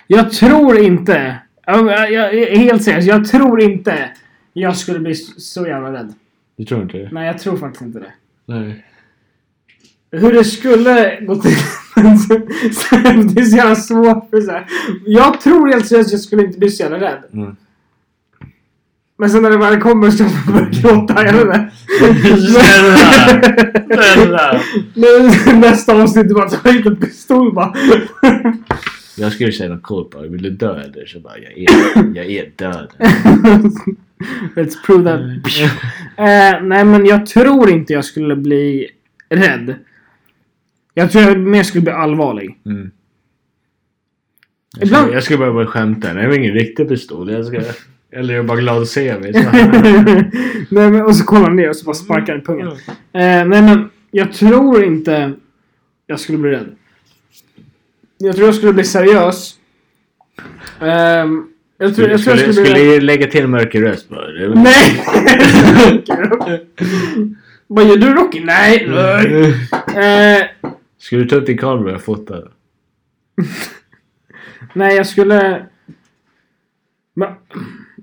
S2: Jag tror inte... Jag, jag, jag, helt seriöst, jag tror inte jag skulle bli så jävla rädd.
S1: Du tror inte det?
S2: Nej, jag tror faktiskt inte det.
S1: Nej.
S2: Hur det skulle gå till. det är så jävla svårt. för Så här. Jag tror helt seriöst jag skulle inte bli så jävla rädd.
S1: Mm.
S2: Men sen när det väl kommer så börjar jag börja gråta. Jag vet inte.
S1: Mm. Snälla.
S2: Nu- Nästa avsnitt är bara ta hit en pistol bara.
S1: Jag skulle säga något coolt bara. Vill du dö eller? Så bara jag är, jag är död.
S2: Let's prove that.
S1: Mm.
S2: Eh, nej men jag tror inte jag skulle bli rädd. Jag tror jag mer skulle bli allvarlig.
S1: Mm. Jag,
S2: Ibland-
S1: skulle, jag skulle bara börja skämta. Det är ingen riktig pistol. Jag ska, eller jag är bara glad att se mig. Så.
S2: nej, men, och så kollar han ner och så bara sparkar han i pungen. Eh, nej men jag tror inte jag skulle bli rädd. Jag tror jag skulle bli seriös. Ehm, jag, tror,
S1: Skulle,
S2: jag tror jag
S1: skulle,
S2: skulle bli rädd.
S1: skulle lägga till en mörker röst bara. Det är väl-
S2: Nej! Vad gör du Rocky? Nej! nej. Eh,
S1: Skulle du ta upp din kamera och fota?
S2: nej jag skulle... Men-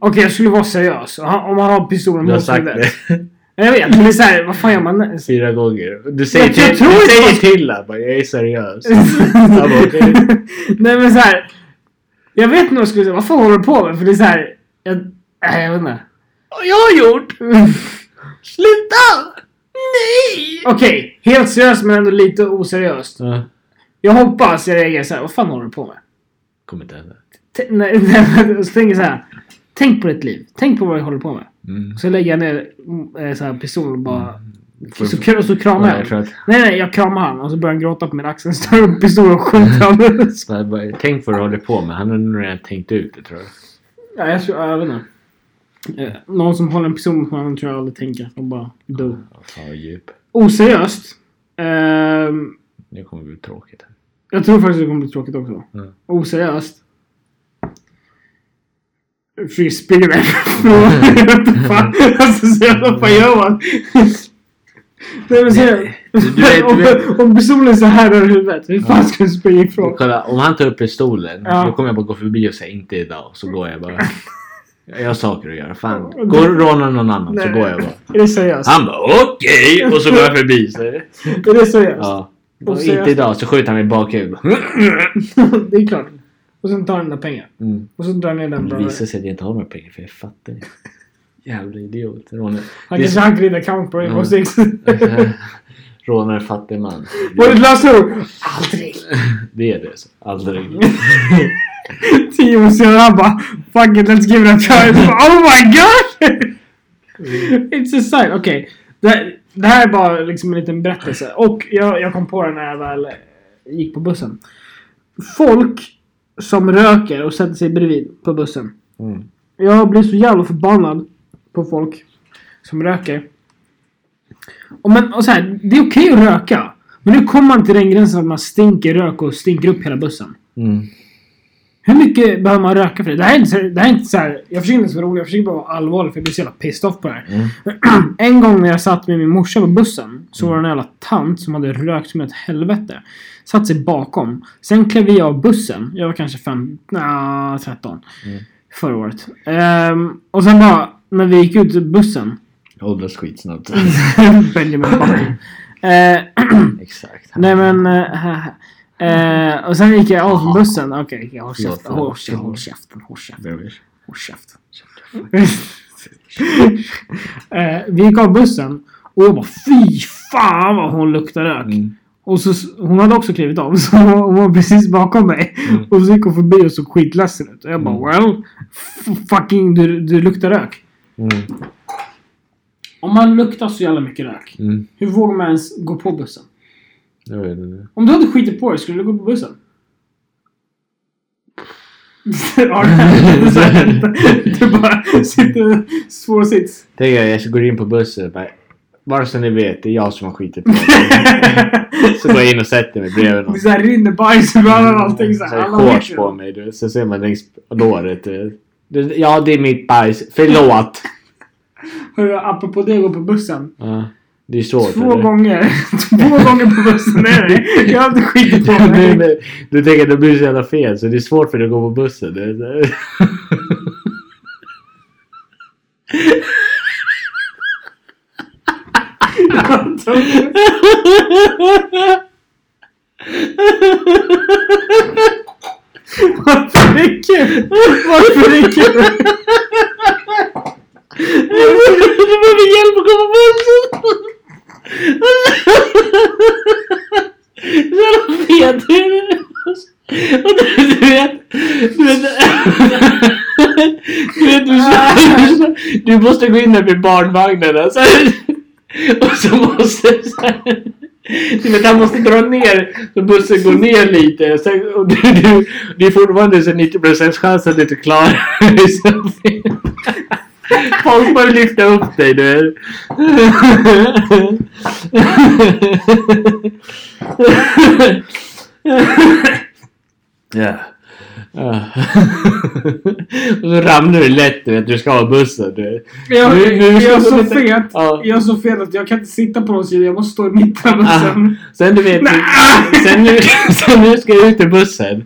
S2: Okej jag skulle vara seriös. Och han- Om man har pistolen
S1: Du har
S2: mot sig
S1: sagt
S2: där.
S1: det
S2: Jag vet men det är såhär, vad fan gör man?
S1: fyra gånger. Du säger
S2: Jag
S1: till, du
S2: tror inte
S1: säger
S2: man-
S1: till han bara, jag är seriös. Han bara, okej.
S2: Nej men såhär. Jag vet nog jag skulle säga, vad fan håller du på med? För det är såhär. Jag, nej jag vet inte.
S1: Vad jag har gjort? Sluta! Nej!
S2: Okej, helt seriöst men ändå lite oseriöst.
S1: Ja,
S2: Jag hoppas jag reagerar såhär, vad fan håller du på med?
S1: kommer inte hända.
S2: T- nej, nej, men och så tänker jag såhär. Tänk på ditt liv. Tänk på vad jag håller på med.
S1: Mm.
S2: Så lägger jag ner eh, så här pistolen och bara...
S1: Får-
S2: Så, kram- så
S1: Mm.
S2: kramar
S1: Ja,
S2: jag
S1: jag tror
S2: honom.
S1: att,
S2: Nej, nej, jag kramar han och så börjar han gråta på min axel. Så tar jag upp pistolen och skjuter honom.
S1: så här, bara, tänk vad du håller på med. Han har nog redan tänkt ut det tror jag.
S2: ja, jag tror... ja, Jag vet inte. Eh, Någon som håller en pistol mot honom tror jag aldrig tänker. De bara... Do.
S1: Ja, Fan vad djup.
S2: Oseriöst. Ehm,
S1: Nu kommer det bli tråkigt. här.
S2: jag tror faktiskt det kommer bli tråkigt också.
S1: Mm.
S2: Oseriöst. Fy, springa iväg från Jag vet inte fan. Alltså, så jävla vad fan gör man? Nej men seriöst.
S1: Du vet, du vet.
S2: Om, om pistolen är så här över huvudet, hur fan ska du springa ifrån?
S1: Kolla, om han tar upp pistolen
S2: Ja.
S1: då kommer jag bara gå förbi och säga inte idag. Så går jag bara. Jag har saker att göra. Fan. Går och rånar någon annan så
S2: Nej.
S1: går jag bara.
S2: Är det seriöst?
S1: Han bara okej! Och så går jag förbi. Så.
S2: Är det seriöst?
S1: Ja.
S2: Och
S1: Och
S2: så-
S1: inte idag så skjuter han mig i bakhuvudet.
S2: det är klart. Och sen tar han dina pengar.
S1: Mm.
S2: Och så drar ni
S1: Det
S2: den bra.
S1: visar sig att jag inte har några pengar för jag fattar inte. Jävla idiot. Rånare.
S2: Han
S1: Det är
S2: kanske har glidit account på Rainbow
S1: Mm.
S2: Six.
S1: så- Rånare fattig man.
S2: Vad är ditt lösenord? Aldrig!
S1: Det är det. så. Aldrig.
S2: Tio år senare han bara Fuck it, let's give it a try. Jag bara, oh my god! It's a sign. Okej. Det, här- det här är bara liksom en liten berättelse. Och jag, jag kom på den när jag väl eh, gick på bussen. Folk som röker och sätter sig bredvid på bussen.
S1: Mm.
S2: Jag blir så jävla förbannad på folk som röker. Och men, och så här, det är okej att röka. Men nu kommer man till den gränsen att man stinker rök och stinker upp hela bussen.
S1: Mm.
S2: Hur mycket behöver man röka för det? Det här är inte, så- det här är inte så här, Jag försöker inte vara rolig, jag försöker bara vara allvarlig för jag blir så jävla pissed off på det här.
S1: Mm.
S2: en gång när jag satt med min morsa på bussen så var det en jävla tant som hade rökt som ett helvete. Satt sig bakom. Sen klev vi av bussen. Jag var kanske fem, nja, 13.
S1: Mm.
S2: Förra året. Ehm, och sen bara, när vi gick ut ur bussen.
S1: Jag åldras skitsnabbt.
S2: Mm. Benjamin Button. Eh,
S1: Exakt.
S2: nej men... eh, eh, och sen gick jag av från bussen. Okej, jag håll
S1: Förlåt,
S2: käften. Håll
S1: förlåt.
S2: käften, håll käften, håll käften.
S1: Bebis.
S2: Håll käften. Eh, vi gick av bussen och jag bara fy fan vad hon luktar rök.
S1: Mm.
S2: Och så, hon hade också klivit av så hon var precis bakom mig.
S1: Mm.
S2: Och så gick hon förbi och såg skitledsen ut. Och jag bara
S1: Mm.
S2: well f- fucking du, du luktar rök.
S1: Mm.
S2: Om man luktar så jävla mycket rök.
S1: Mm.
S2: Hur vågar man ens gå på bussen?
S1: Jag vet inte.
S2: Om du hade skitit på dig, skulle du gå på bussen? Arne, det är så här. du bara sitter i en svår sits.
S1: Tänk er, jag går in på bussen och bara, bara så ni vet, det är jag som har skitit på Så går jag in och sätter mig bredvid någon.
S2: Det så här rinner bajs över alla och allting. Så
S1: Så
S2: här,
S1: är det Alltså, Mm,
S2: alla
S1: shorts
S2: vet ju.
S1: på mig. Du. vet. Så ser man längs låret. du vet. Det- Ja, det är mitt bajs. Förlåt!
S2: Hörru, apropå det gå på bussen.
S1: Ja, det är svårt.
S2: Två
S1: eller?
S2: gånger. Två gånger på bussen är det. Jag har inte skitit på
S1: Du,
S2: mig.
S1: du, du tänker att det blir så jävla fel så det är svårt för dig att gå på bussen. du vet.
S2: Varför är det kul? Varför är det kul?
S1: Du behöver hjälp att gå på bussen! Så jävla fet du är. Och du, du vet... Du vet... Du vet, du, kör- du måste gå in där med barnvagnen alltså. Och så måste... Så här, du vet, han måste dra ner så bussen går ner lite. Sen, och du, du, det är fortfarande så 90% chans att du inte klarar dig. Så fel. Folk börjar lyfta upp dig du vet. Ja. Ja. Och så ramlar du lätt du vet. Du ska ha bussen du vet.
S2: Jag,
S1: Nu- nu
S2: jag
S1: ska
S2: är
S1: du
S2: så
S1: lite-
S2: fet.
S1: Ja.
S2: Jag är så fet att jag kan inte sitta på någon sida. Jag måste stå i mitten
S1: Ah,
S2: av bussen.
S1: sen du vet, sen nu, sen nu ska jag ut i bussen.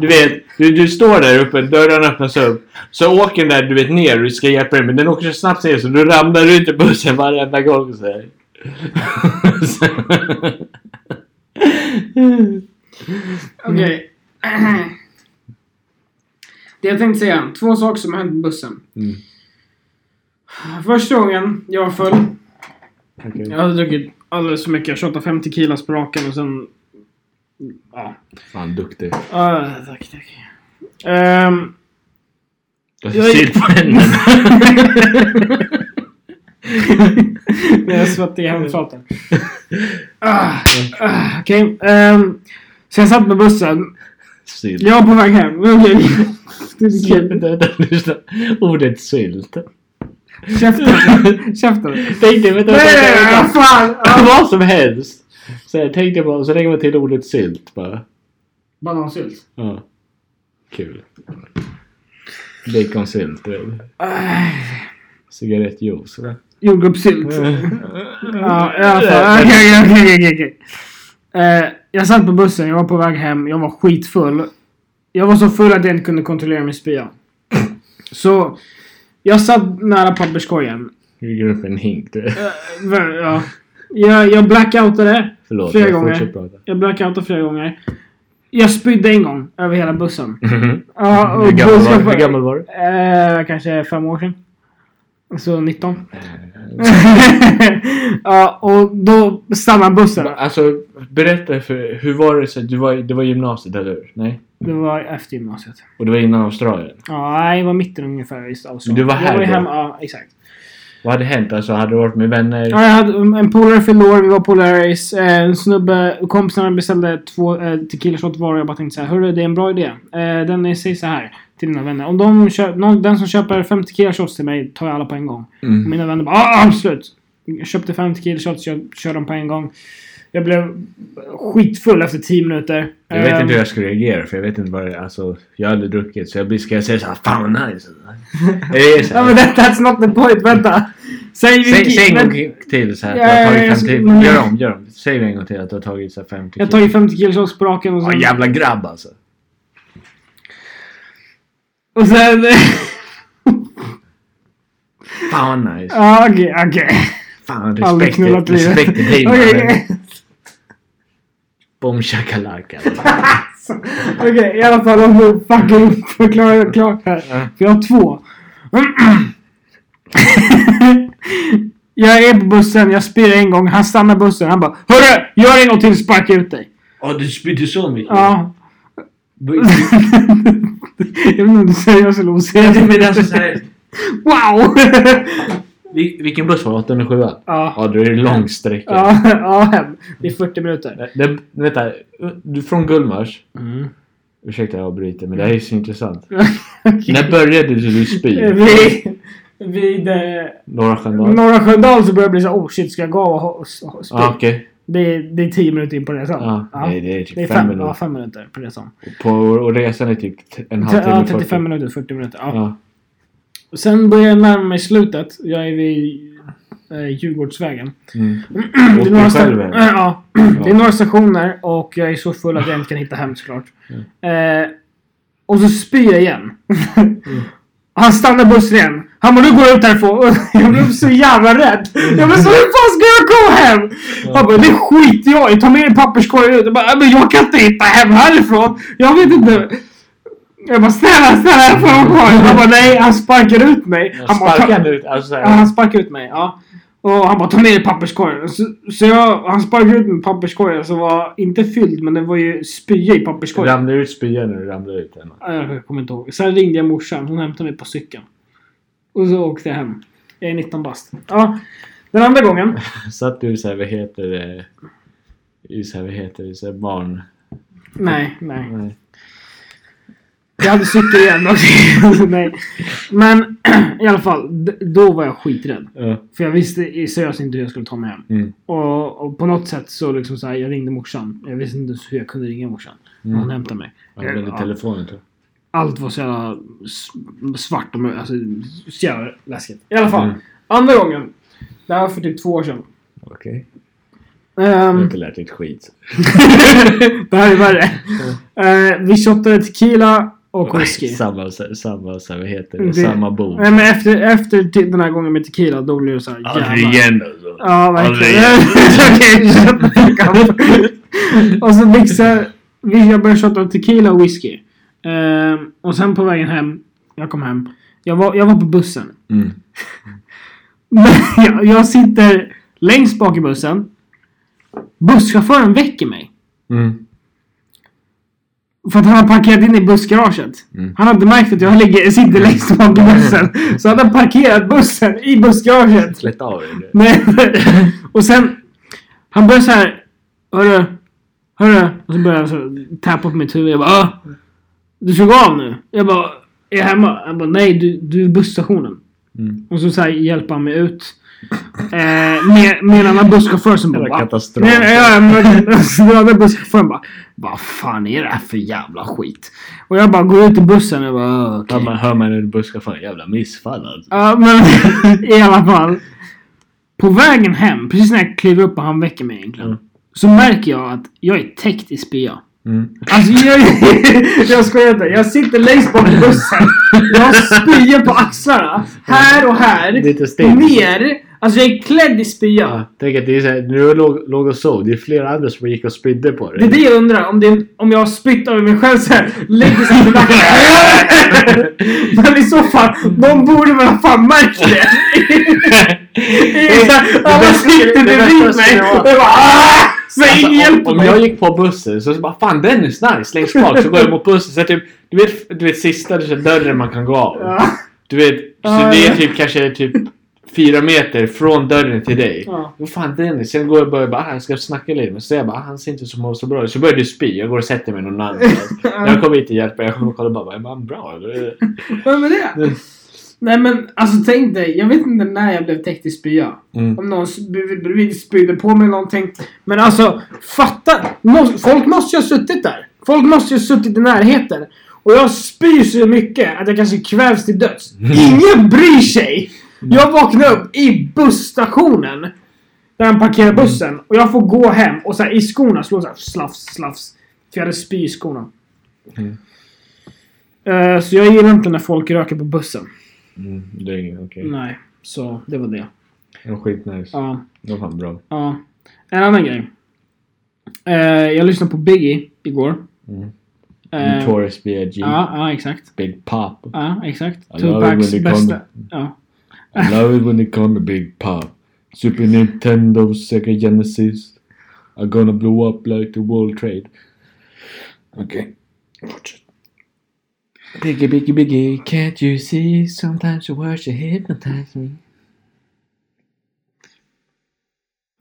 S1: Du vet, du, du står där uppe, dörren öppnas upp. Så åker den där du vet ner och du ska hjälpa dig men den åker så snabbt ner så du ramlar ut i bussen varenda gång. Så här.
S2: Okej. Det jag tänkte säga. Två saker som har hänt på bussen.
S1: Mm.
S2: Första gången jag var full.
S1: Okej.
S2: Jag hade druckit alldeles för mycket. Jag tjatade 50 kilos på raken och sen... Ja.
S1: Fan duktig.
S2: Ah, tack, tack. Ehm,
S1: Du har
S2: Jag är-
S1: sylt på händerna.
S2: När jag svettig i handflatan. Ah, ah, Okej. ehm, så jag satt på bussen.
S1: Sylt.
S2: Jag var på väg hem. Okej.
S1: Släpp inte detta, lyssna. Ordet sylt.
S2: Käften. Käften.
S1: Tänk dig, vänta, vänta,
S2: Nej,
S1: vänta.
S2: vad fan!
S1: Ja,
S2: Ah.
S1: vad som helst. Så jag tänkte bara, så lägger man till ordet sylt bara.
S2: Banansylt.
S1: Ja. Kul. Baconsylt, du vet.
S2: Ah,
S1: Cigarettjuice, va?
S2: Jordgubbssylt.
S1: Eh.
S2: Ja, i alla fall. Okej, okej, okej, okej, okej. Eh, Jag satt på bussen, jag var på väg hem, jag var skitfull. Jag var så full att jag inte kunde kontrollera min spya. Så Jag satt nära papperskorgen.
S1: Du lägger upp en hink. Du.
S2: Eh, ver- Ja. Jag, jag blackoutade.
S1: Förlåt,
S2: Flera
S1: jag
S2: gånger.
S1: fortsätter prata.
S2: Jag blackoutade flera gånger. Jag spydde en gång över hela bussen. Ja, och
S1: hur, gammal
S2: bussen
S1: var, hur gammal var du?
S2: Eh, kanske fem år sedan. Så 19.
S1: Eh,
S2: ja, och då stannar bussen.
S1: Alltså, berätta för... Hur var det? Så, du var, det var gymnasiet, eller hur? Nej?
S2: Det var efter gymnasiet.
S1: Och det var innan Australien?
S2: Ja, nej, det var mitten ungefär i Australien.
S1: Du var här
S2: jag var ju
S1: då?
S2: hemma, Ja, exakt.
S1: Vad hade hänt? Alltså, hade du varit med vänner?
S2: Ja, jag hade en polare fyllde år, vi var polaris. Eh, En snubbe, kompisarna beställde två eh, tequilashot var och jag bara tänkte så här, Hörru, det är en bra idé. Eh, den är, säg så här till mina vänner. Om de köp, någon, den som köper fem tequilashots till mig tar jag alla på en gång. Och
S1: Mm.
S2: Mina vänner bara ah, absolut. Jag köpte fem tequilashot, jag körde dem på en gång. Jag blev skitfull efter 10 minuter.
S1: Jag vet
S2: Ehm,
S1: inte hur jag skulle reagera för jag vet inte vad det Alltså, jag har aldrig druckit så jag blir... Ska jag säga såhär Fan vad nice! Eller så
S2: Ja,
S1: här,
S2: men that, that's not the point, vänta. Säg
S1: Säg,
S2: vilken...
S1: säg en
S2: men-
S1: gång till så här, att
S2: Ja,
S1: du har
S2: jag
S1: tagit fem
S2: ska-
S1: till.
S2: men-
S1: Gör om, gör om. Säg en gång till att du har tagit så här, fem till.
S2: Jag tar ju 50 kilos på raken och
S1: Ja,
S2: sen...
S1: jävla grabb alltså.
S2: Och sen...
S1: Fan vad nice.
S2: Ja, okej, okej.
S1: Fan
S2: Aldrig
S1: respekt,
S2: knullat livet.
S1: respekt till dig
S2: Okej,
S1: mannen.
S2: okej.
S1: Bom shakalaka.
S2: Okej, i alla fall om du fucking förklarar klart här.
S1: Ja.
S2: För jag har två. jag är på bussen, jag spyr en gång. Han stannar bussen. Han bara Hörru! Gör en gång till sparka ut dig.
S1: Ja du spydde så mycket.
S2: Ja.
S1: Du-
S2: jag vet inte om du säger jag eller
S1: du- Men alltså
S2: oseriöst.
S1: såhär.
S2: Wow!
S1: Vilken buss var det? 807?
S2: ja.
S1: Ja du är det lång sträcka.
S2: Ja, ja, hem. Det är 40 minuter.
S1: Det, vänta, du från Gullmars. Ursäkta jag avbryter men det här är så intressant. När började du spy?
S2: Vid, vid eh,
S1: Norra Sköndal?
S2: Norra Sköndal så börjar det bli så här, oh shit, ska jag gå och ha- och ha- spy?
S1: Ja Ah, okej.
S2: Det, är, det är 10 minuter in på resan.
S1: Ja,
S2: Ja.
S1: Nej det är typ
S2: Det är
S1: fem
S2: fem, ja,
S1: minuter.
S2: fem minuter på resan.
S1: På, och resan är typ t- en halvtimme.
S2: Ja,
S1: 40.
S2: 35 minuter, 40 minuter. Ja.
S1: Ja.
S2: Och sen börjar jag närma mig slutet. Jag är vid eh, Djurgårdsvägen.
S1: Mm.
S2: Det är,
S1: Åkte
S2: några
S1: du
S2: sta- äh,
S1: själv eller?
S2: ja. det är några stationer och jag är så full att jag inte kan hitta hem såklart. Eh, och så spyr jag igen. Han stannar bussen igen. Han bara nu går jag ut härifrån. Och Jag blev så jävla rädd. Jag blev så hur fan ska jag komma hem? Han bara det skiter jag i. Ta med en papperskorg ut. Jag bara "Ja, men jag kan inte hitta hem härifrån. Jag vet inte. Jag bara snälla snälla jag får vara kvar. Han bara nej han sparkar ut mig.
S1: Jag
S2: Han bara, "Ta-
S1: sparkade ut. Alltså,
S2: Ja, han sparkade ut mig. Ja. Och han bara ta med dig papperskorgen. Så, så jag, han sparkade ut mig i papperskorgen som var inte fylld men den var ju spya i papperskorgen.
S1: ramlade ut spyan när du ramlade ut den.
S2: Ja. Jag kommer inte ihåg. Sen ringde jag morsan. Hon hämtade mig på cykeln. Och så åkte jag hem. Jag är 19 bast. Ja. Den andra gången.
S1: Satt du såhär, vad heter det? I såhär, vad heter det? Såhär barn...
S2: Nej, nej.
S1: Nej.
S2: Jag hade cykel igen också. nej. Men i alla fall. d- Då var jag skiträdd.
S1: Ja.
S2: För jag visste i- seriöst inte hur jag skulle ta mig hem.
S1: Mm.
S2: Och, och på något sätt så liksom så här, jag ringde morsan. Jag visste inte ens hur jag kunde ringa morsan.
S1: Mm.
S2: Hon hämtade mig.
S1: Använde
S2: Ja.
S1: telefonen tror
S2: Allt var så jävla s- svart och mörkt. Alltså, så jävla läskigt. I alla fall.
S1: Mm.
S2: Andra gången. Det här var för typ två år sedan.
S1: jag. Okej. Du har
S2: Ehm,
S1: inte lärt dig ett skit.
S2: det här är värre. Eh, vi shottade tequila och whisky. Mm,
S1: samma, samma, så här, vad heter det?
S2: Det-
S1: Samma bord.
S2: Nej, men efter, efter till- den här gången med tequila då blev det såhär
S1: Aldrig igen alltså.
S2: Ja,
S1: Aldrig
S2: verkligen.
S1: igen.
S2: Okej, shut the fuck up. Och så mixade vi, jag började shotta tequila och whisky. Ehm, och sen på vägen hem, jag kom hem. Jag var, jag var på bussen.
S1: Mm.
S2: Men jag, jag sitter längst bak i bussen. Busschauffören väcker mig.
S1: Mm.
S2: För att han har parkerat in i bussgaraget.
S1: Mm.
S2: Han hade märkt att jag ligger, sitter längst bak i bussen. Så han har parkerat bussen i bussgaraget.
S1: Slätt av dig nu.
S2: Nej. Och sen... Han börjar så här... Hörru. Hörru. Och så börjar han så här tappa på mitt huvud. Jag bara "Ah, Du ska gå av nu. Jag bara Är jag hemma? Han bara nej du, du är busstationen.
S1: Mm.
S2: Och så, så här hjälper han mig ut. Eh, med, med en annan busschaufför som bara
S1: Jävla
S2: "Va?"
S1: katastrof.
S2: Nej, nej, ja, men verkligen. Så Den andra busschauffören bara Vad fan är det här för jävla skit? Och jag bara går ut i bussen och bara "Ah, okej.
S1: Hör man, hör man en busschaufför? Jävla missfall alltså.
S2: Ja, men i alla fall. På vägen hem, precis när jag kliver upp och han väcker mig egentligen.
S1: Mm.
S2: Så märker jag att jag är täckt i spya.
S1: Mm.
S2: Alltså jag, jag skojar inte. Jag sitter längst bak i bussen. Jag spyr på axlarna. Här och här.
S1: Lite stelt.
S2: Ner. Alltså jag är klädd i spya.
S1: Ja, tänk att det är så här, när du låg, låg och sov, det är flera andra som gick och spydde på
S2: Det är
S1: dig.
S2: det jag undrar. Om, det är, om jag har spytt över mig själv såhär. Lägger sig på backen. Men i så fall. De borde väl ha fan märkt det. Det är så här, Alla
S1: bästa-
S2: sitter
S1: det
S2: bredvid
S1: bästa
S2: mig.
S1: skulle
S2: Och jag
S1: vara-
S2: bara. "Ah!" Men ingen
S1: Alltså,
S2: hjälper
S1: om, om jag
S2: mig.
S1: gick på bussen så, så bara Fan Dennis nice längst bak så går jag mot bussen så typ Du vet, du vet sista du ser dörren man kan gå av.
S2: Ja.
S1: Du vet, så
S2: Ja,
S1: det
S2: ja.
S1: är typ kanske typ fyra meter från dörren till dig.
S2: Ja.
S1: Vad fan Dennis? Sen går jag och börjar bara, ah, jag ska snacka lite men så säger jag bara, ah, han ser inte så, så bra ut. Så börjar du spy, jag går och sätter mig någon annanstans. När jag kommer hit och hjälper, jag kommer och kollar bara, är han bra eller?
S2: Vem är det? Nej men alltså tänk dig, jag vet inte när jag blev täckt i spya.
S1: Mm.
S2: Om någon sp- bredvid spydde på mig någonting. Men alltså fatta! Må- Folk måste ju ha suttit där. Folk måste ju ha suttit i närheten. Och jag spyr så mycket att jag kanske kvävs till döds. Ingen bryr sig! Jag vaknar upp i busstationen. Där han parkerar bussen. Och jag får gå hem och så här, i skorna slå så här slafs, slafs. För jag hade spy i skorna.
S1: Mm.
S2: Eh, så jag gillar inte när folk röker på bussen.
S1: Mm, det är inget okej.
S2: Nej, så det var det.
S1: Det var skitnice.
S2: Ja,
S1: Det var fan bra.
S2: ja. En annan grej. Eh, jag lyssnade på Biggie igår.
S1: Mm.
S2: Eh,
S1: Notorious B.I.G.
S2: ja, ja, exakt.
S1: Big Pop.
S2: Ja, exakt.
S1: I love it when
S2: Tupacs
S1: they
S2: bästa...
S1: come-
S2: Ja.
S1: I love it when they call me Big Pop. Super Nintendo, Sega Genesis. I'm gonna blow up like the World Trade. Okej. Fortsätt. Biggie, biggie, biggie, can't you see? Sometimes your words you hypnotize me.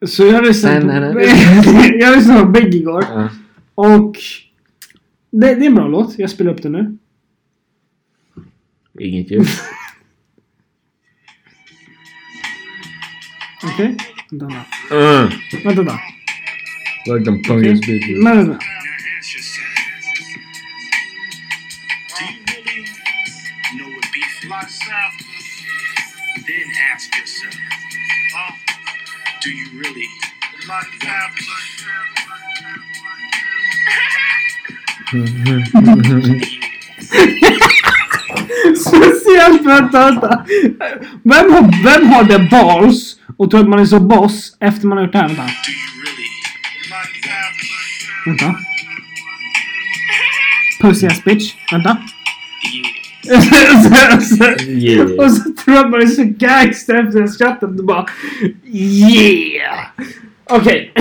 S2: Så jag lyssnade
S1: Nej, nej,
S2: på,
S1: nej.
S2: jag lyssnade på Biggie igår.
S1: Ja.
S2: Och... Det, det är en bra låt. Jag spelar upp den nu.
S1: Inget ljud.
S2: Okej? Vänta, Vänta,
S1: uh,
S2: vänta. Vänta,
S1: like them fungus bitches.
S2: Men vänta.
S3: know what beef is? Then ask yourself, do you really?
S2: Speciellt, vänta, vänta. Vem har, vem har the balls och tror att man är så boss efter man har gjort det här? Vänta.
S3: Do you really?
S2: Vänta. Pussy ass bitch. Vänta.
S1: Yeah.
S2: och så tror jag att man är så gangster efter det skrattet. Du bara Yeah! Okej.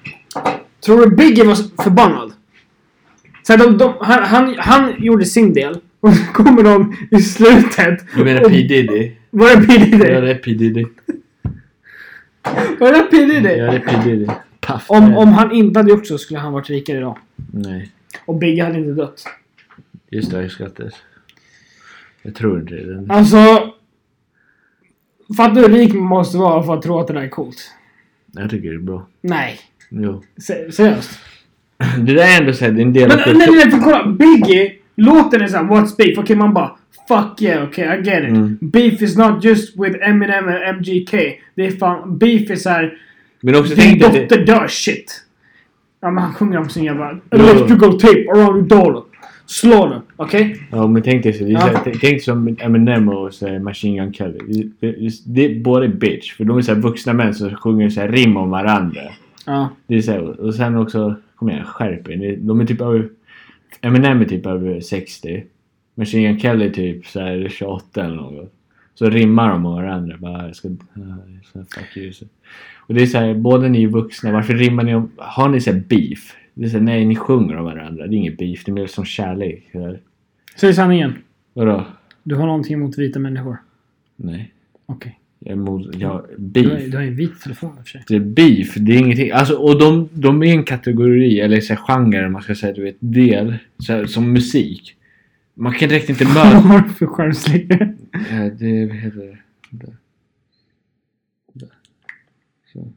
S2: tror du Biggie var förbannad? Så här, de, de, han, han, han gjorde sin del. Och så kommer de i slutet.
S1: Du menar
S2: och-
S1: P Diddy?
S2: Var det P Diddy?
S1: Ja, det är P Diddy.
S2: Var det P Diddy?
S1: Ja, det är P Diddy. Puff.
S2: Om, om han inte hade gjort så skulle han varit rikare idag.
S1: Nej.
S2: Och Biggie hade inte dött.
S1: Just det, jag skrattar. Jag tror inte det.
S2: Alltså... Fattar du hur rik man måste vara för att tro att det där är coolt?
S1: Jag tycker det är bra.
S2: Nej.
S1: Jo.
S2: Se- seriöst.
S1: Det där är ändå såhär, det är en del av
S2: Men nej, nej,
S1: kulturen.
S2: nej, för kolla. Biggie, låten är såhär What's beef? Okej, man bara Fuck yeah, okej, I get it.
S1: Mm.
S2: Beef is not just with Eminem and MGK. Det är fan... Beef är såhär...
S1: Men också
S2: Din
S1: tänk dig att det-
S2: dotter dör shit. Ja, men han sjunger om sin jävla...
S1: Jo.
S2: Electrical tape typ around the dollar. Slå den, okej?
S1: Ja men tänk dig så, det är
S2: Ja.
S1: så här, tänk tänk som Eminem och så här, Machine Gun Kelly. Det- Det, det är både bitch, för de är så här vuxna män som sjunger så här rim om varandra.
S2: Ja.
S1: Det är så här, och sen också, kom igen skärp er. Det- De är typ över... Eminem är typ över 60. Machine Gun Kelly är typ så här 28 eller något. Så rimmar de om varandra. Bara, jag ska, jag ska fuck you. Så. Och det är så här, båda ni är vuxna. Varför rimmar ni om... Har ni så här beef? Det är så här, nej ni sjunger om varandra. Det är inget beef, det är mer som kärlek. så här.
S2: Säg sanningen.
S1: Vadå?
S2: Du har någonting emot vita människor.
S1: Nej.
S2: Okej.
S1: Jag är emot, jag,
S2: Du, har-
S1: beef.
S2: du har ju en vit telefon i och för sig.
S1: Det är beef, det är ingenting. Alltså, och de, de är en kategori, eller så här, genre, om man ska säga, du vet, del, så här, som musik. Man kan direkt inte
S2: Vad
S1: möta...
S2: har du för skärmsläckare?
S1: Eh, det, vad heter det? Där. Där. Så.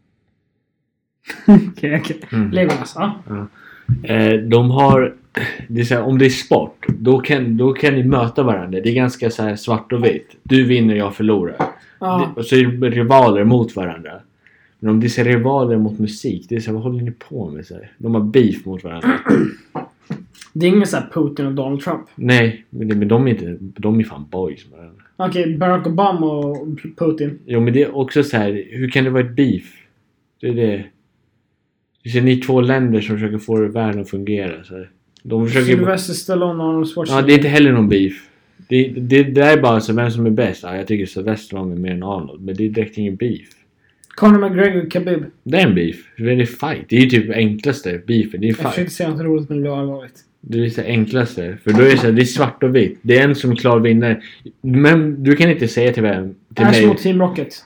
S2: Okej, alltså. okej.
S1: Mm.
S2: Legolas, ja.
S1: Eh, de har... Det är så här, om det är sport, då kan, då kan ni möta varandra. Det är ganska så här svart och vitt. Du vinner, jag förlorar.
S2: ja.
S1: Det- Och så är det rivaler mot varandra. Men om det är rivaler mot musik, det är så här, vad håller ni på med? Så här? De har beef mot varandra.
S2: Det är inget såhär Putin och Donald Trump.
S1: Nej, men, det, men de är inte... De är fan boys med varandra.
S2: Okej, Barack Obama och P- Putin.
S1: Jo men det är också så här, hur kan det vara ett beef? Det är det. Du ser, ni är två länder som försöker få världen att fungera. Så här. De försöker...
S2: Sylvester Stallone och Arnold
S1: Ja,
S2: Schwarzenegger.
S1: det är inte heller någon beef. Det, det, det där är bara så vem som är bäst. Ja, jag tycker Sylvester Stallone är mer än Arnold, men det är direkt ingen beef.
S2: Conor McGregor och Khabib.
S1: Det är en beef. Det är fight. Det är ju typ enklaste beefen. Det är
S2: Jag
S1: fight.
S2: försökte säga något roligt men det blev allvarligt.
S1: Det är det enklaste. För då är det, så här, det är svart och vitt. Det är en som är klar vinnare. Men du kan inte säga till vem... Till
S2: Ash
S1: mig.
S2: mot Team Rocket.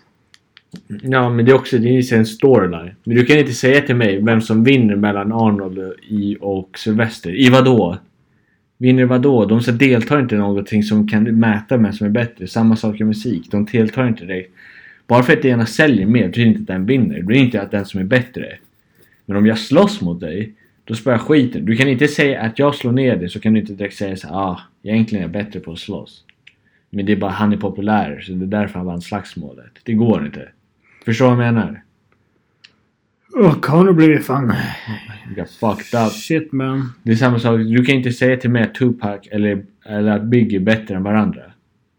S1: Ja, men det är också det är ju en storyline. Men du kan inte säga till mig vem som vinner mellan Arnold och- i och Sylvester. I vad då? Vinner vad då? De så deltar inte i någonting som kan mäta vem som är bättre. Samma sak i musik. De deltar inte direkt. Bara för att det ena säljer mer betyder inte att den vinner. Det betyder inte att den som är bättre. Men om jag slåss mot dig, då spöar jag skiten. Du kan inte säga att jag slår ner dig så kan du inte direkt säga så här, ah, egentligen är jag bättre på att slåss. Men det är bara han är populär så det är därför han vann slagsmålet. Det går inte. Förstår du vad jag menar?
S2: Åh, Conor blev ju fan...
S1: You got fucked up.
S2: Shit man.
S1: Det är samma sak. Du kan inte säga till mig att Tupac eller, eller att Biggie är bättre än varandra.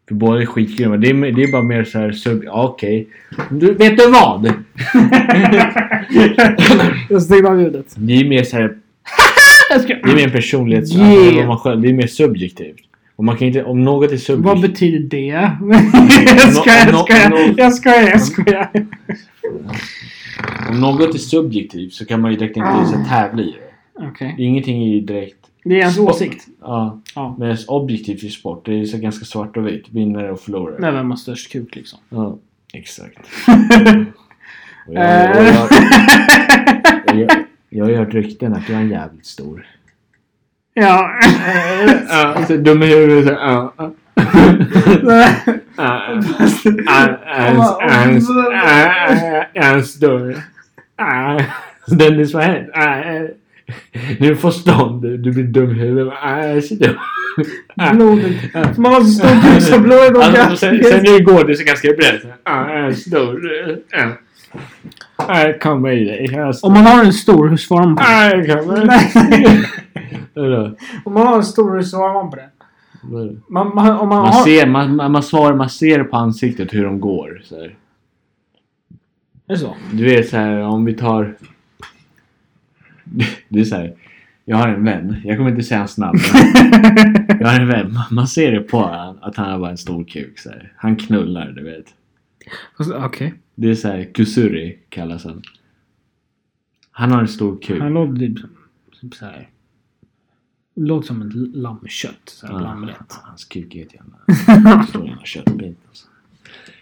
S1: För båda är skitgrymma. Det är, det är bara mer så här sub... ja, Okej. Du, vet du vad?
S2: Jag stängde av ljudet.
S1: Det är mer så här... Det är mer en personlighets...
S2: Yeah.
S1: vad man själv- Det är mer subjektivt. Och man kan inte... Om något är
S2: Vad
S1: subjektivt...
S2: betyder det? jag skojar,
S1: no-
S2: jag skojar,
S1: no-
S2: jag skojar, jag skojar.
S1: Om något är subjektivt så kan man ju direkt inte
S2: Ah.
S1: så här tävla i det.
S2: Okej.
S1: Det är Ingenting är ju direkt...
S2: Det är ens åsikt.
S1: Ja.
S2: Ja.
S1: Medan objektivt i sport, det är så ganska svart och vitt. Vinnare och förlorare.
S2: Nej, vem har störst kuk liksom?
S1: Ja, exakt. Och jag, och
S2: Eh.
S1: jag, och jag, jag har ju hört rykten att jag är jävligt stor.
S2: ja.
S1: Ja, alltså, så dum i huvudet. så, ja, ja. Ja, ja, ja, ja, ja, ja, Jag är stor. Ja, Dennis, vad händer? Ja, ja. Du får stånd. Du du blir dum i huvudet. Ja, Jag är så dum. Ja.
S2: Blodet. Man har så stor kuk så blodet
S1: Alltså, sen, sen
S2: åker.
S1: igår, det är så ganska brett. Ja, jag är stor. Ja. Ja, Jag kommer i dig. Jag är stor.
S2: Om man har en stor, hur svarar man på det?
S1: Nej, jag kan
S2: Nej.
S1: Vadå?
S2: Om man har en stor, hur svarar man på det?
S1: Vadå?
S2: Man, man, om man,
S1: Man
S2: har...
S1: ser, man, man, man svarar, man ser på ansiktet hur de går. Så här.
S2: Är det så?
S1: Du vet så här, om vi tar... Det är så här. Jag har en vän. Jag kommer inte säga hans namn. men Jag har en vän. Man- Man ser det på honom att han har bara en stor kuk. Så här. Han knullar, du vet. Alltså,
S2: Okej.
S1: Det är så här, kusuri kallas han. Han har en stor kuk.
S2: Han låter typ, typ så här. Låter som ett lammkött. Så här,
S1: Ja,
S2: lammrätt.
S1: Hans kuk är ett jävla... Stor jävla köttbit. Alltså.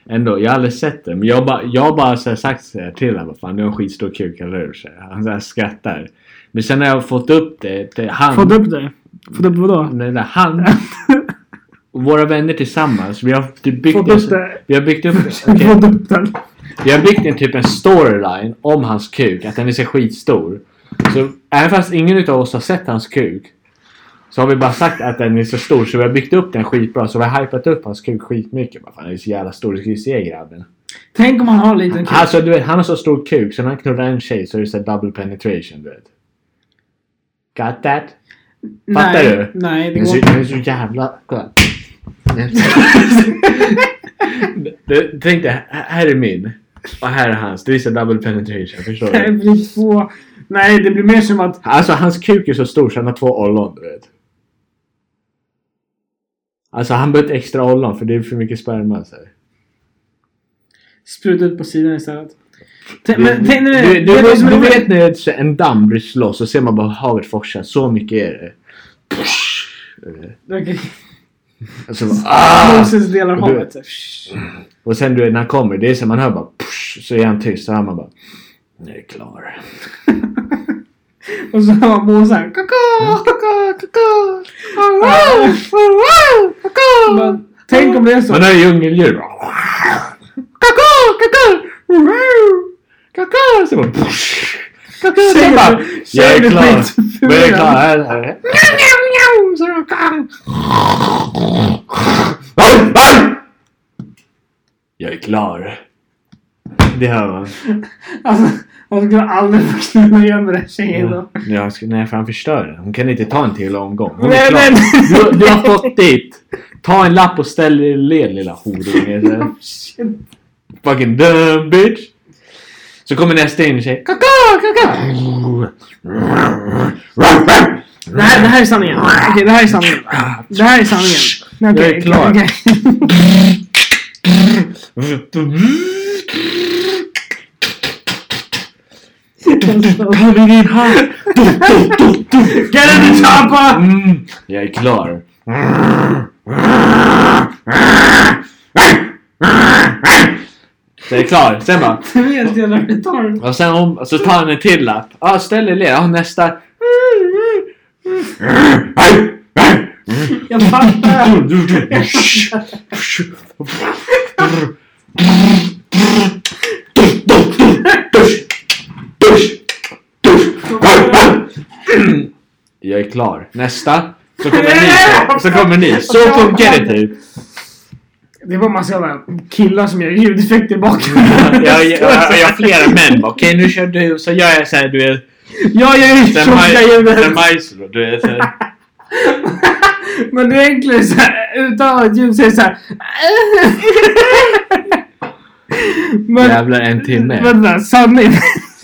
S1: Ändå, jag har aldrig sett det. Men jag har bara, jag har bara så här sagt så här till honom. Fan, du har en skitstor kuk, eller hur? Så här. Han så här skrattar. Men sen när jag har fått upp det till han.
S2: Fått upp det? Fått upp vadå?
S1: Nej, nej, han. Och våra vänner tillsammans. Vi har typ byggt
S2: Fått
S1: en,
S2: upp det.
S1: Vi har byggt upp... okej.
S2: Fått upp den?
S1: Vi har byggt en typ en storyline om hans kuk. Att den är så skitstor. Så även fast ingen utav oss har sett hans kuk. Så har vi bara sagt att den är så stor. Så vi har byggt upp den skitbra. Så vi har hypat upp hans kuk skitmycket. Bara, Fan, den är så jävla stor. Du ska ju se grabben.
S2: Tänk om han har en liten kuk.
S1: Alltså, du vet, han har så stor kuk. Så när han knullar en tjej så är det så här double penetration. Du vet. Got that? fattar
S2: nej,
S1: du?
S2: Nej,
S1: Den
S2: det
S1: är
S2: går
S1: så,
S2: inte.
S1: den är så jävla... Kolla. Du, Tänk dig, här- här är min. Och här är hans. Det är så double penetration, förstår
S2: Det här
S1: du?
S2: blir två... Nej, det blir mer som att...
S1: Alltså hans kuk är så stor så han har två ollon, du vet. Alltså han behöver ett extra ollon för det är för mycket sperma. Så här.
S2: Spruta ut på sidan istället. Tänk,
S1: Du,
S2: men,
S1: du,
S2: tänk, nej, nej,
S1: du,
S2: vet vad som är
S1: du
S2: roligt?
S1: vet när ett- så en damm blir slåss och ser man bara havet forsa. Så mycket är det.
S2: Okej.
S1: Alltså, bara, ah!
S2: Moses delar
S1: Du-
S2: havet. så här.
S1: Och sen du vet när han kommer, det är så man hör bara push, så är han tyst. Så hör man bara Nu är det klar.
S2: Och så hör man Moses såhär... Kaka, kaka, kaka. wow, wow, kaka. Men Tänk om det är så.
S1: Man hör djungeldjur bara Kaka, kaka, wow, kaka. Så bara push, kaka.
S2: Säger
S1: Sen
S2: du-
S1: bara Jag
S2: säger
S1: är
S2: du
S1: klar.
S2: skitful
S1: Jag är
S2: igen?
S1: klar. Här, här. Så de kan. Jag är klar. det hör man.
S2: Alltså, hon skulle aldrig få knulla igen den där tjejen då.
S1: Ja, jag ska- nej, för han förstör den. Hon kan inte ta en till omgång. Hon är
S2: Nej,
S1: klar.
S2: men-
S1: Du, du har fått ditt! Ta en lapp och ställ dig i led lilla horunge.
S2: Shit.
S1: Fucking dumb bitch! Så kommer nästa in och säger kaka, kaka.
S2: Det här, det här är sanningen. Okej, det här är sanningen. Det här är sanningen. Nej, okej,
S1: Jag är klar.
S2: okej, okej.
S1: Ta din hand! Du, du, du, du.
S2: Get in the chopper!
S1: Mm, jag är klar. Så jag är klar. Sen bara...
S2: Du vet, jävla retard.
S1: Och sen om, så tar han en till lapp. Ja, ah, ställ dig ner. Ja, nästa.
S2: Jag fattar.
S1: Jag är klar. Nästa. Så kommer ni. Så kommer ni. Så funkar det typ.
S2: Det var massa jävla killar som gör ljudeffekter bakom.
S1: Jag, jag, jag, jag har flera män bara, Okej nu kör du. Så gör jag såhär du vet.
S2: Jag gör ju
S1: Sen maj-
S2: tjocka
S1: sen
S2: ljudet.
S1: Maestro. Du vet. så här.
S2: Men det är enklare såhär, utan att ha ett ljud säger såhär. Men,
S1: Jävlar en timme.
S2: vänta, sanningen,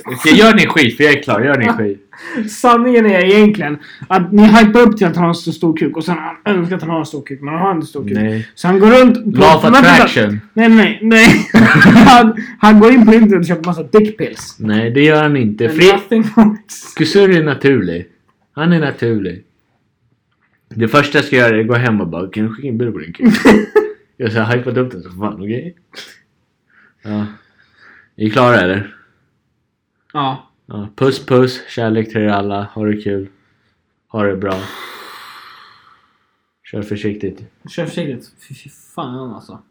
S1: Okej, Gör din skit för jag är klar. Gör din skit.
S2: sanningen är egentligen att ni hypar upp till att han har en så stor kuk och sen han önskar att han har en stor kuk men han har inte stor kuk.
S1: Nej.
S2: Så han går runt... på-
S1: Law of
S2: Men vänta,
S1: attraction.
S2: Nej, nej, nej. Han, han går in på internet och köper massa dickpills.
S1: Nej det gör han inte.
S2: And
S1: Fri-
S2: Nothing works.
S1: Kusur är naturlig. Han är naturlig. Det första jag ska göra är att gå hem och bara Kan du skicka en bild på din kille? jag har så här hypat upp den så fan, okej? Ja. Är ni klara eller?
S2: Ja.
S1: Ja. Puss puss, kärlek till er alla, ha det kul. Ha det bra. Kör försiktigt.
S2: Kör försiktigt. Fy, fy fan alltså.